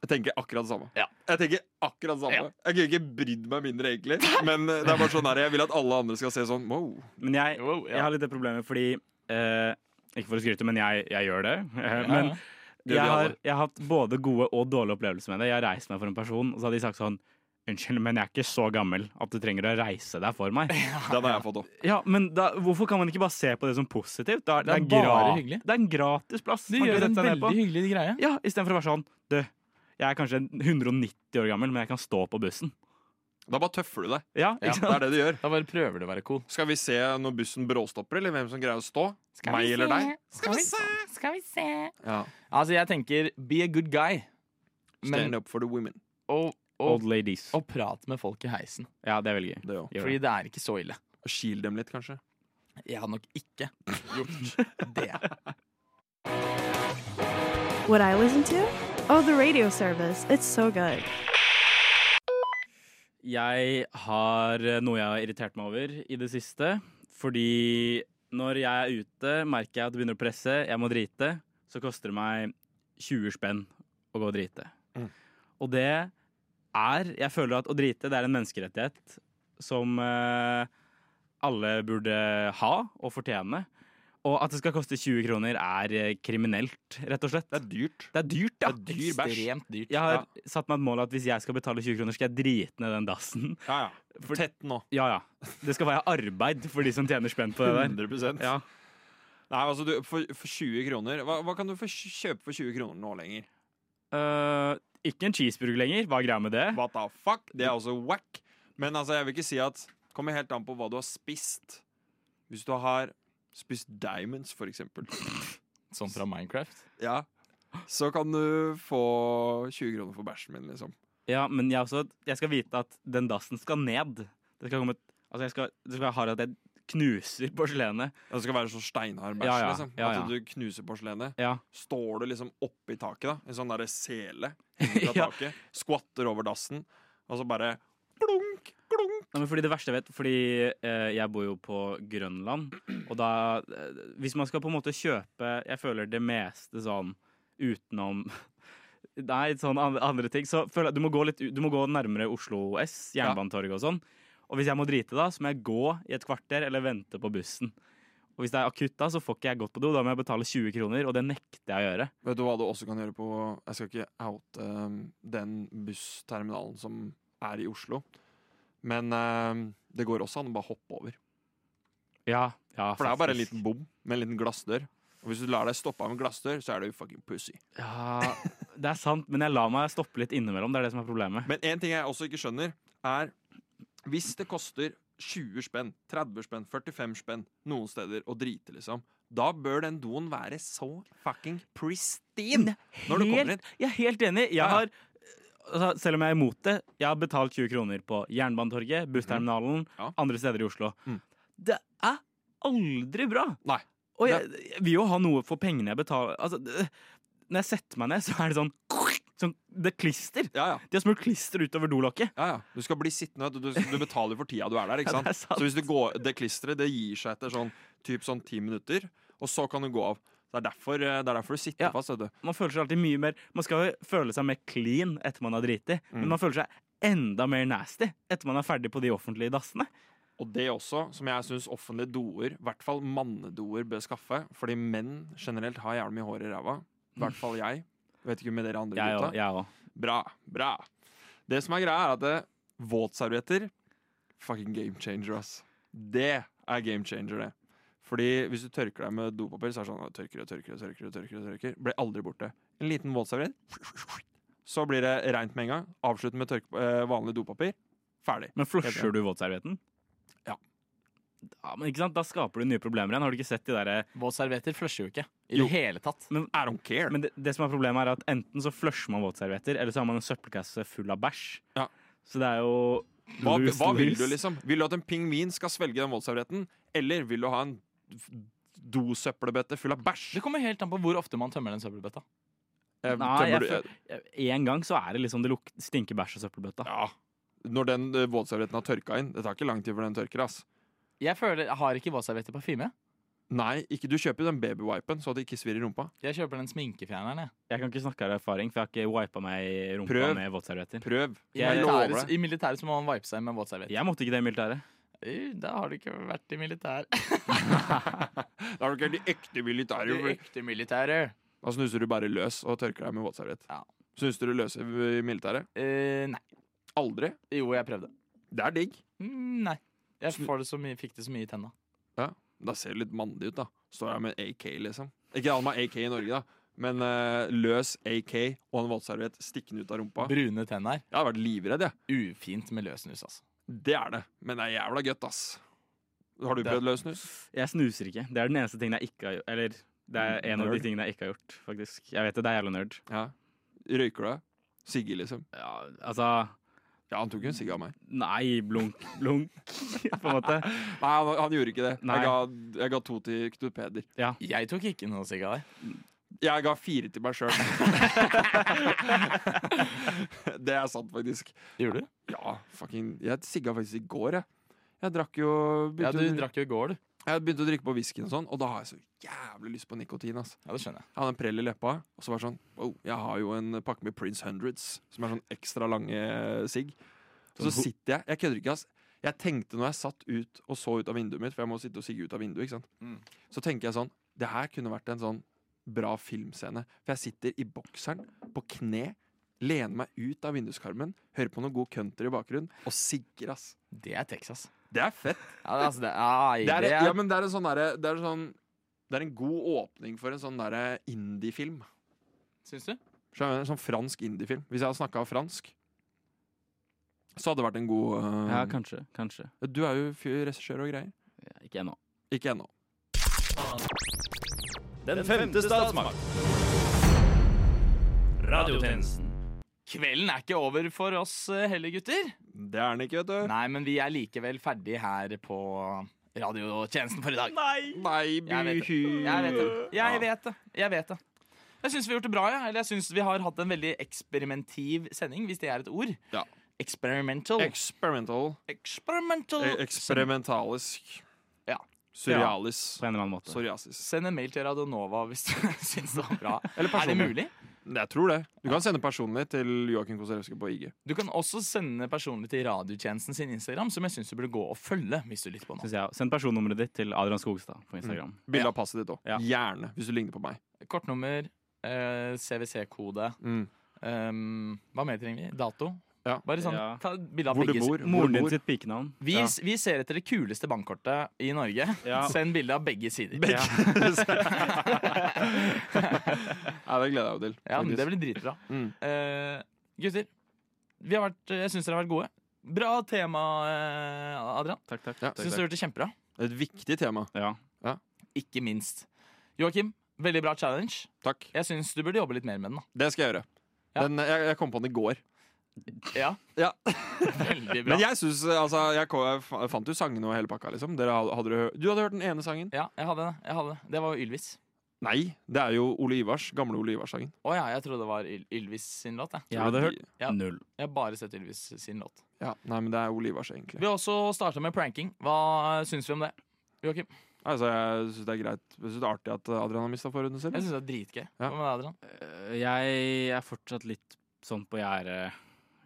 Speaker 5: Jeg tenker akkurat det samme.
Speaker 3: Ja.
Speaker 5: Jeg tenker akkurat det samme.
Speaker 3: Ja.
Speaker 5: Jeg kunne ikke brydd meg mindre, egentlig. Men det er bare sånn her, jeg vil at alle andre skal se sånn wow.
Speaker 4: men jeg,
Speaker 3: Jo, ja.
Speaker 4: jeg har litt det problemet fordi eh, Ikke for å skryte, men jeg, jeg gjør det. Eh, Men
Speaker 5: gjør vi
Speaker 4: jeg har,
Speaker 5: alle.
Speaker 4: jeg har hatt både gode og dårlige opplevelser med det. Jeg har reist meg for en person, og så hadde de sagt sånn Unnskyld, men jeg er ikke så gammel at du trenger å reise deg for meg.
Speaker 5: Den har jeg fått opp.
Speaker 4: Ja, men da, Hvorfor kan man ikke bare se på det som positivt? Da,
Speaker 3: Det er
Speaker 4: gra-
Speaker 3: bare hyggelig.
Speaker 4: Det er en gratis plass.
Speaker 3: Du
Speaker 4: man kan
Speaker 3: gjør en
Speaker 4: sette seg ned på.
Speaker 3: veldig hyggelig greie.
Speaker 4: Ja, Istedenfor å være sånn Du, jeg er kanskje 190 år gammel, men jeg kan stå på bussen.
Speaker 5: Da bare tøffer du deg.
Speaker 4: Ja, ikke
Speaker 5: Det
Speaker 4: sant?
Speaker 5: er det du gjør.
Speaker 3: Da bare prøver du å være cool.
Speaker 5: Skal vi se når bussen bråstopper, eller hvem som greier å stå? Meg eller deg? Skal vi se? Ja.
Speaker 3: Altså, jeg tenker be a good guy.
Speaker 5: Stand
Speaker 3: Men
Speaker 5: up for the women.
Speaker 3: og,
Speaker 4: Old
Speaker 3: og,
Speaker 4: ladies.
Speaker 3: og prat med folk i heisen.
Speaker 4: Ja, det er veldig gøy.
Speaker 5: Det òg.
Speaker 4: Gjør
Speaker 3: Fordi det er ikke så ille.
Speaker 5: Skil dem litt, kanskje.
Speaker 3: Jeg hadde nok ikke gjort det.
Speaker 1: What I listen to? Oh, the radio service. It's so good.
Speaker 4: Jeg har eh, noe jeg har irritert meg over i det siste. Fordi når jeg er ute, merker jeg at det begynner å presse, jeg må drite. Så koster det meg 20 spenn å gå og drite.
Speaker 5: Mm.
Speaker 4: Og det er Jeg føler at å drite det er en menneskerettighet som eh, alle burde ha og fortjene. Og at det skal koste 20 kroner, er eh, kriminelt, rett og slett.
Speaker 5: Det er dyrt.
Speaker 4: Det er dyrt, ja.
Speaker 5: Det er dyr bæsj.
Speaker 3: Ekstremt dyrt.
Speaker 4: Jeg har satt meg et mål at hvis jeg skal betale 20 kroner, skal jeg drite ned den dassen.
Speaker 5: Ja, ja.
Speaker 4: For-
Speaker 5: Tett nå.
Speaker 4: Ja, ja. Det skal være arbeid for de som tjener spenn på det der.
Speaker 5: 100
Speaker 4: Ja.
Speaker 5: Nei, altså, du, for, for 20 kroner hva, hva kan du få kj- kjøpe for 20 kroner nå lenger?
Speaker 4: Eh, ikke en cheeseburger lenger. Hva er greia med det?
Speaker 5: What the fuck? Det er også whack. Men altså, jeg vil ikke si at Kommer helt an på hva du har spist. Hvis du har spist diamonds, for eksempel,
Speaker 3: Sånn fra Minecraft.
Speaker 5: ja, så kan du få 20 kroner for bæsjen min, liksom.
Speaker 4: Ja, men jeg, også, jeg skal vite at den dassen skal ned. Det skal komme, altså jeg skal, det skal være hard at jeg knuser porselenet.
Speaker 5: Det skal være så steinhard bæsj,
Speaker 4: Ja, ja.
Speaker 5: liksom.
Speaker 4: Ja,
Speaker 5: At
Speaker 4: ja.
Speaker 5: du knuser porselenet.
Speaker 4: Ja.
Speaker 5: Står du liksom oppi taket, da, en sånn derre sele fra
Speaker 4: Ja.
Speaker 5: taket, skvatter over dassen, og så bare klunk, klunk.
Speaker 4: Nei, men fordi det verste jeg vet, fordi eh, jeg bor jo på Grønland, og da eh, Hvis man skal på en måte kjøpe Jeg føler det meste sånn utenom Nei, sånn an- andre ting. Så føler jeg, du, må gå litt, u- du må gå nærmere Oslo S, Jernbanetorget og sånn. Og hvis jeg må drite da, så må jeg gå i et kvarter eller vente på bussen. Og hvis det er akutt da, så får ikke jeg gått på do. Da må jeg betale 20 kroner, og det nekter jeg å gjøre.
Speaker 5: Vet du hva du også kan gjøre på Jeg skal ikke oute um, den bussterminalen som er i Oslo, men um, det går også an å bare hoppe over.
Speaker 4: Ja, ja,
Speaker 5: For det er jo bare en
Speaker 4: faktisk.
Speaker 5: liten bom med en liten glassdør. Og hvis du lar deg stoppe av en glassdør, så er du fucking pussy.
Speaker 4: Ja, det er sant, men jeg lar meg stoppe litt innimellom. Det er det som er problemet.
Speaker 5: Men en ting jeg også ikke skjønner, er hvis det koster 20 spenn, 30 spenn, 45 spenn noen steder å drite, liksom, da bør den doen være så fucking pristine når du kommer
Speaker 4: Mm, Helt,
Speaker 5: inn.
Speaker 4: jeg er helt enig. Jeg
Speaker 5: Ja, ja.
Speaker 4: har, altså, selv om jeg er imot det, jeg har betalt 20 kroner på Jernbanetorget, bussterminalen,
Speaker 5: Mhm. Ja.
Speaker 4: andre steder i Oslo.
Speaker 5: Mm.
Speaker 4: Det er aldri bra!
Speaker 5: Nei.
Speaker 4: Og jeg, jeg vil jo ha noe for pengene jeg betaler. Altså, det- når jeg setter meg ned, så er det sånn, sånn Det er klister!
Speaker 5: Ja, ja.
Speaker 4: De har smurt klister utover dolokket.
Speaker 5: Ja, ja. Du skal bli sittende. Du, du, du betaler for tida du er der. ikke
Speaker 4: Ja,
Speaker 5: sant?
Speaker 4: det er sant.
Speaker 5: Så hvis du går, Det klisteret det gir seg etter sånn typ sånn ti minutter, og så kan du gå av. Det er derfor, eh, det er derfor du sitter
Speaker 4: Ja.
Speaker 5: fast. vet du.
Speaker 4: Man føler seg alltid mye mer Man skal jo føle seg mer clean etter man har driti,
Speaker 5: Mm.
Speaker 4: men man føler seg enda mer nasty etter man er ferdig på de offentlige dassene.
Speaker 5: Og det også, som jeg syns offentlige doer, i hvert fall mannedoer, bør skaffe. Fordi menn generelt har jævlig mye hår i ræva. I hvert fall jeg. Vet ikke med dere andre
Speaker 4: Jeg
Speaker 5: gutta.
Speaker 4: òg. Jeg òg.
Speaker 5: Bra, bra. Det som er greia, er at eh, våtservietter Fucking game changer, ass. Det er game changer, det. Fordi hvis du tørker deg med dopapir, så er det sånn «Å, tørker og tørker og tørker. og tørker og tørker Blir aldri borte. En liten våtserviett, så blir det reint med en gang. Avslutt med tørk, eh, vanlig dopapir. Ferdig.
Speaker 4: Men
Speaker 5: Helt
Speaker 4: flusher du våtservietten?
Speaker 5: Ja.
Speaker 4: Ja, men ikke sant? Da skaper du nye problemer igjen. Har du ikke sett de der,
Speaker 3: Våtservietter flusher jo ikke. I
Speaker 5: Jo.
Speaker 3: det hele tatt.
Speaker 5: I don't care.
Speaker 4: Men det, det som er problemet, er at enten så flusher man våtservietter, eller så har man en søppelkasse full av bæsj.
Speaker 5: Ja.
Speaker 4: Så det er jo
Speaker 5: Hva,
Speaker 4: lose,
Speaker 5: hva vil du,
Speaker 4: lose.
Speaker 5: liksom? Vil du at en pingvin skal svelge den våtservietten? Eller vil du ha en f- dosøppelbøtte full av bæsj?
Speaker 3: Det kommer helt an på hvor ofte man tømmer den søppelbøtta.
Speaker 5: Eh,
Speaker 4: Nei,
Speaker 5: tømmer
Speaker 4: jeg
Speaker 5: du-
Speaker 4: Eh, En gang så er det liksom det luk stinker bæsj og søppelbøtta.
Speaker 5: Ja. Når den eh, våtservietten har tørka inn. Det tar ikke lang tid før den tørker. ass
Speaker 3: Jeg føler, jeg har ikke våtservietter parfyme.
Speaker 5: Nei, ikke, du kjøper jo den babywipen så det ikke svir i rumpa.
Speaker 3: Jeg kjøper den sminkefjerneren. jeg.
Speaker 4: Jeg kan ikke snakke av erfaring, for jeg har ikke wipa meg i rumpa
Speaker 5: Prøv.
Speaker 4: med våtservietter.
Speaker 5: Prøv.
Speaker 3: I
Speaker 5: Jeg lover
Speaker 3: militæret,
Speaker 5: deg.
Speaker 3: I militæret så må man vipe seg med våtservietter.
Speaker 4: Jeg måtte ikke det i militæret.
Speaker 3: Eh, Da har du ikke vært i militæret.
Speaker 5: Da har du ikke vært i ekte
Speaker 3: Du
Speaker 5: militære.
Speaker 3: er
Speaker 5: for-
Speaker 3: ekte militæret.
Speaker 5: Da snuser du bare løs og tørker deg med våtserviett.
Speaker 3: Ja.
Speaker 5: Snuser du løs i militæret?
Speaker 3: Eh, nei.
Speaker 5: Aldri.
Speaker 3: Jo, jeg prøvde.
Speaker 5: Det er digg.
Speaker 3: Mm, nei. Jeg får det så mye, fikk det så mye i tenna.
Speaker 5: Da ser du litt mandig ut, da. Står her med en AK, liksom. Ikke alle med AK i Norge, da. Men eh, løs AK og en våtserviett stikkende ut av rumpa. Jeg
Speaker 3: Brune tenner.
Speaker 5: hadde vært livredd, jeg.
Speaker 3: Ufint med løssnus, altså.
Speaker 5: Det er det. Men det er jævla godt, ass. Har du
Speaker 3: Det-
Speaker 5: prøvd løs snus?
Speaker 4: Jeg snuser ikke. Det er den eneste tingen jeg ikke har gjort. Eller det er en av de
Speaker 5: Nerd.
Speaker 4: tingene jeg ikke har gjort, faktisk. Jeg vet det, det er jævla nerd.
Speaker 5: Ja. Røyker du det? Sigge, liksom?
Speaker 4: Ja, altså
Speaker 5: Ja, han tok jo en sigge av meg.
Speaker 4: Nei, blunk, blunk, på en måte.
Speaker 5: Nei, han, han gjorde ikke det.
Speaker 4: Nei.
Speaker 5: Jeg ga, jeg ga to til Knut Peder.
Speaker 3: Jeg tok ikke noe sigg av deg.
Speaker 5: Jeg ga fire til meg sjøl. det er sant, faktisk.
Speaker 3: Gjorde du?
Speaker 5: Ja, fucking Jeg sigga faktisk i går, jeg. Jeg drakk jo
Speaker 3: Ja,
Speaker 5: begynte,
Speaker 3: du
Speaker 5: å-
Speaker 3: drakk jo i går, du.
Speaker 5: Jeg begynte å drikke på whisky og sånn, og da har jeg så jævlig lyst på nikotin. ass
Speaker 3: Ja, det skjønner jeg.
Speaker 5: Jeg hadde en prell i leppa, og så var det sånn Wow, jeg har jo en pakke eh, med Prince Hundreds, som er sånn ekstra lange sigg. Og så sitter jeg Jeg kødder ikke, ass. Jeg tenkte når jeg satt ut og så ut av vinduet mitt, for jeg må sitte og sigge ut av vinduet, ikke sant?
Speaker 3: Mm.
Speaker 5: så tenker jeg sånn Det her kunne vært en sånn bra filmscene. For jeg sitter i bokseren, på kne, lener meg ut av vinduskarmen, hører på noe god country i bakgrunnen, og sigger, ass.
Speaker 3: Det er Texas.
Speaker 5: Det er fett.
Speaker 3: Ja, det, altså, det, ai,
Speaker 5: Det er,
Speaker 3: det er,
Speaker 5: ja, men det er en sånn derre Det er en sånn det er en god åpning for en sånn derre indie-film.
Speaker 3: Syns du?
Speaker 5: Skjønner du? En sånn fransk indie-film. Hvis jeg hadde snakka fransk, så hadde det vært en god øh,
Speaker 4: Ja, kanskje. Kanskje.
Speaker 5: Du er jo fyr- regissør og greier.
Speaker 4: Ja, Ikke ennå.
Speaker 5: Ikke ennå.
Speaker 11: Den femte statsmakt. Radiotjenesten.
Speaker 3: Kvelden er ikke over for oss eh, heller, gutter.
Speaker 5: Det er den ikke, vet du.
Speaker 3: Nei, men vi er likevel ferdig her på radiotjenesten for i dag.
Speaker 5: Nei,
Speaker 3: Jeg vet det.
Speaker 5: buhu.
Speaker 3: Jeg vet det. Jeg vet det. Jeg vet det. Jeg syns vi har gjort det bra. Ja. Eller jeg syns vi har hatt en veldig eksperimentiv sending, hvis det er et ord.
Speaker 5: Ja.
Speaker 3: Experimental.
Speaker 5: Experimental.
Speaker 3: Experimental.
Speaker 5: Eh, Eksperimentalisk.
Speaker 3: Oh. Ja.
Speaker 5: Surrealis.
Speaker 4: På en eller annen måte.
Speaker 5: Psoriasis.
Speaker 3: Send en mail til Radionova hvis du syns det var bra. er det
Speaker 5: personlig.
Speaker 3: mulig?
Speaker 5: Jeg tror det. Du kan sende personlig til Joakim Koserevskij på IG.
Speaker 3: Du kan også sende personlig til radiotjenesten sin Instagram, som jeg syns du burde gå og følge. hvis du lytter på nå.
Speaker 4: Synes jeg. Send personnummeret ditt til Adrian Skogstad på Instagram.
Speaker 5: Bilde av passet ditt òg.
Speaker 4: Ja.
Speaker 5: Gjerne, hvis du ligner på meg.
Speaker 3: Kortnummer, eh, CWC-kode
Speaker 5: Mm.
Speaker 3: ehm, Hva mer trenger vi? Dato?
Speaker 5: Ja.
Speaker 3: Bare sånn,
Speaker 4: Ja.
Speaker 3: ta et bilde av
Speaker 5: Hvor du
Speaker 3: begge
Speaker 5: bor. Hvor
Speaker 4: Moren
Speaker 5: du
Speaker 4: din
Speaker 5: bor.
Speaker 4: sitt pikenavn.
Speaker 3: Vi, vi ser etter det kuleste bankkortet i Norge.
Speaker 4: Ja.
Speaker 3: Send bilde av begge sider.
Speaker 4: Ja.
Speaker 5: Ja, det gleder jeg meg til.
Speaker 3: Ja, men
Speaker 5: faktisk.
Speaker 3: Det blir dritbra.
Speaker 5: Mm.
Speaker 3: Eh, gutter, vi har vært, jeg syns dere har vært gode. Bra tema, eh, Adrian.
Speaker 4: Takk, takk.
Speaker 5: Ja.
Speaker 4: takk,
Speaker 3: Syns
Speaker 4: takk.
Speaker 3: dere har gjort det kjempebra.
Speaker 5: Et viktig tema.
Speaker 4: Ja.
Speaker 3: Ikke minst. Joakim, veldig bra challenge.
Speaker 5: Takk.
Speaker 3: Jeg syns du burde jobbe litt mer med den. da
Speaker 5: Det skal jeg gjøre.
Speaker 3: Ja.
Speaker 5: Den, jeg, jeg kom på den i går.
Speaker 3: Ja,
Speaker 5: Ja.
Speaker 3: Veldig bra.
Speaker 5: Men jeg synes, altså, jeg, ko- jeg fa- fant jo sangene og hele pakka, liksom. Dere hadde, hadde, dere hø- du hadde hørt den ene sangen?
Speaker 3: Ja, jeg hadde det. Jeg hadde det. det var jo Ylvis.
Speaker 5: Nei, det er jo Ole Ivars. Gamle Ole Ivars-sangen.
Speaker 3: Å ja, jeg trodde det var Yl Ylvis sin låt. Jeg.
Speaker 4: Jeg hadde hørt
Speaker 3: Ja.
Speaker 4: null.
Speaker 3: jeg har bare sett Ylvis sin låt.
Speaker 5: Ja, nei, men det er Ole Ivars, egentlig.
Speaker 3: Vi har også starta med pranking. Hva syns vi om det? Joakim?
Speaker 5: Altså, jeg syns det er greit. Jeg synes det er artig at Adrian har mista forhuden sin.
Speaker 3: Jeg syns det er dritgøy. Hva
Speaker 5: Ja.
Speaker 3: med deg, Adrian?
Speaker 4: Øh, Jeg er fortsatt litt sånn på gjerdet.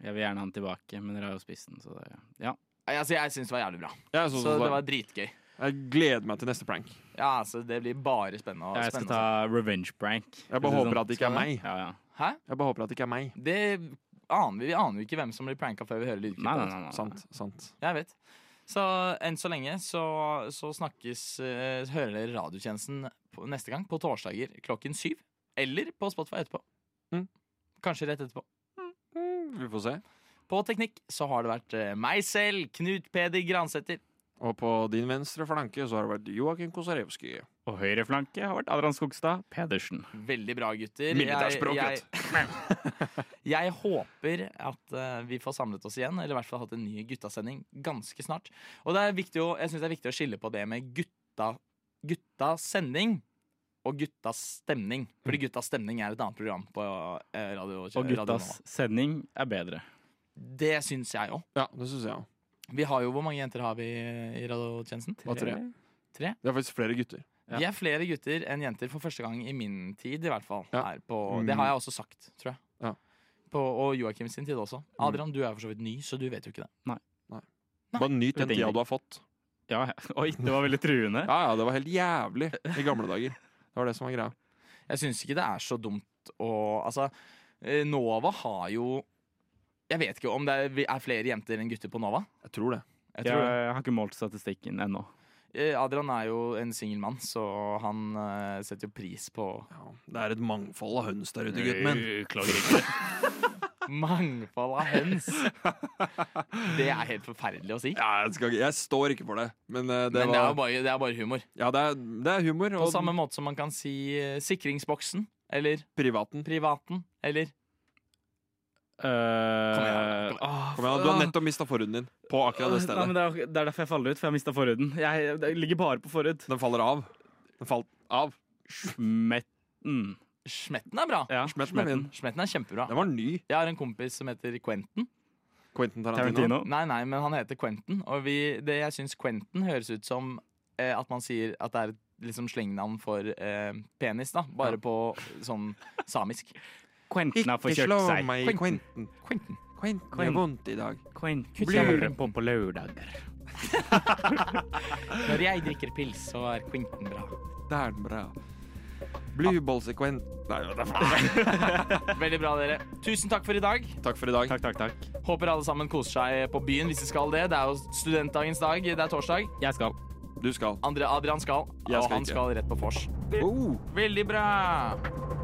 Speaker 4: Jeg vil gjerne ha den tilbake, men dere har jo spist den, så det Ja.
Speaker 3: Nei, Altså, jeg syns det var jævlig bra.
Speaker 5: Jeg, er sånn
Speaker 3: Så
Speaker 5: som
Speaker 3: det
Speaker 5: deg.
Speaker 3: var dritgøy.
Speaker 5: jeg gleder meg til neste prank.
Speaker 3: Ja, altså, det blir bare spennende. Og
Speaker 4: Jeg skal
Speaker 3: spennende.
Speaker 4: ta revenge prank.
Speaker 5: Jeg bare håper at det ikke
Speaker 3: sånn
Speaker 5: er
Speaker 3: Skal
Speaker 5: meg.
Speaker 4: sånn. Ja, ja.
Speaker 5: Jeg bare håper at det ikke er meg.
Speaker 3: Det aner vi, vi aner jo ikke hvem som blir pranka før vi hører
Speaker 4: Nei, nei,
Speaker 3: lydklippet.
Speaker 4: nei. nei.
Speaker 5: Sant. sant
Speaker 3: Jeg vet. Så enn så lenge så, så snakkes eh, Hører dere radiotjenesten på, neste gang på torsdager klokken syv. Eller på Spotify etterpå.
Speaker 5: Mm.
Speaker 3: Kanskje rett etterpå.
Speaker 5: Vi får se.
Speaker 3: På teknikk så har det vært eh, meg selv, Knut Peder Gransæter.
Speaker 5: Og på din venstre flanke så har det vært Joakim Kosarewski.
Speaker 4: Og høyre flanke har vært Adrian Skogstad Pedersen.
Speaker 3: Veldig bra, gutter.
Speaker 5: Militærspråk,
Speaker 3: jeg, jeg håper at eh, vi får samlet oss igjen, eller i hvert fall hatt en ny guttasending ganske snart. Og det er viktig å, jeg syns det er viktig å skille på det med gutta, guttas sending og guttas stemning. Fordi guttas stemning er et annet program på eh, radio.
Speaker 4: Og
Speaker 3: Radio
Speaker 4: guttas
Speaker 3: Nova.
Speaker 4: sending er bedre.
Speaker 3: Det syns jeg òg.
Speaker 5: Ja, det syns jeg òg.
Speaker 3: Vi har jo, Hvor mange jenter har vi i radiotjenesten?
Speaker 5: Hva tre?
Speaker 3: Tre?
Speaker 5: Det er faktisk flere gutter.
Speaker 4: Ja.
Speaker 3: Vi er flere gutter enn jenter for første gang i min tid, i hvert fall.
Speaker 5: Ja. Mm.
Speaker 3: Her på, det har jeg også sagt, tror jeg.
Speaker 5: Ja. Mm.
Speaker 3: På, og Joakim sin tid også. Adrian, du er for så vidt ny, så du vet jo ikke det.
Speaker 5: Bare nyt den
Speaker 4: Vet
Speaker 5: tida
Speaker 4: ingenting.
Speaker 5: du har fått.
Speaker 4: Ja, ja. Oi, det var veldig truende.
Speaker 5: Ja, ja, det var helt jævlig i gamle dager. Det var det som var greia.
Speaker 3: Jeg syns ikke det er så dumt å Altså, eh, Nova har jo Jeg vet ikke om det er, er flere jenter enn gutter på Nova.
Speaker 5: Jeg tror det.
Speaker 3: Jeg
Speaker 4: Jeg,
Speaker 3: tror det.
Speaker 4: har ikke målt statistikken ennå.
Speaker 3: Eh, Adrian er jo en singel mann, så han eh, setter jo pris på
Speaker 5: Ja, det er et mangfold av høns der ute, gutten min.
Speaker 3: mangfold av høns. Det er helt forferdelig å si.
Speaker 5: Ja, jeg, skal, ikke- jeg står ikke for det, men eh, det
Speaker 3: Men det er jo
Speaker 5: var
Speaker 3: bare, det er bare humor.
Speaker 5: Ja, det er, det er humor.
Speaker 3: På
Speaker 5: Og
Speaker 3: samme måte som man kan si eh, sikringsboksen, eller
Speaker 5: privaten.
Speaker 3: privaten, eller
Speaker 4: Eh,
Speaker 3: igjen,
Speaker 5: Kom igjen, du har nettopp mista forhuden din på akkurat det
Speaker 4: Nei, men
Speaker 5: stedet.
Speaker 4: det, er, det er derfor jeg faller ut, for jeg har mista forhuden. Jeg, det ligger bare på forhud.
Speaker 5: Den faller av. Den falt av.
Speaker 4: Smetten.
Speaker 3: Smetten er bra.
Speaker 4: Ja,
Speaker 5: Smetten er min.
Speaker 3: Smetten er kjempebra.
Speaker 5: Den var ny.
Speaker 3: Jeg har en kompis som heter Quentin.
Speaker 5: Quentin Tarantino.
Speaker 4: Tarantino.
Speaker 3: Nei, nei, men han heter Quentin. Og vi, det, jeg syns Quentin høres ut som eh, at man sier at det er et liksom slengnavn for eh, penis, da. Bare på sånn samisk.
Speaker 4: Quentin har forkjørt seg.
Speaker 5: meg,
Speaker 3: Quentin.
Speaker 5: Quentin.
Speaker 3: Quentin.
Speaker 6: Quint, det er vondt i dag.
Speaker 4: Quint,
Speaker 6: Kutt
Speaker 4: lurer
Speaker 6: sammen.
Speaker 4: på på lørdager.
Speaker 3: Når jeg drikker pils, så er Quinten bra.
Speaker 6: Det er den bra. Blueballsekvent Nei, hva
Speaker 3: Veldig bra, dere. Tusen takk for i dag.
Speaker 5: Takk for i dag.
Speaker 4: Takk, takk, takk.
Speaker 3: Håper alle sammen koser seg på byen hvis de skal det. Det er jo studentdagens dag. Det er torsdag.
Speaker 4: Jeg skal.
Speaker 5: Du skal.
Speaker 3: Andre Adrian skal,
Speaker 5: Jeg
Speaker 3: og
Speaker 5: skal
Speaker 3: han
Speaker 5: ikke.
Speaker 3: skal rett på vors.
Speaker 5: Oh.
Speaker 3: Veldig bra.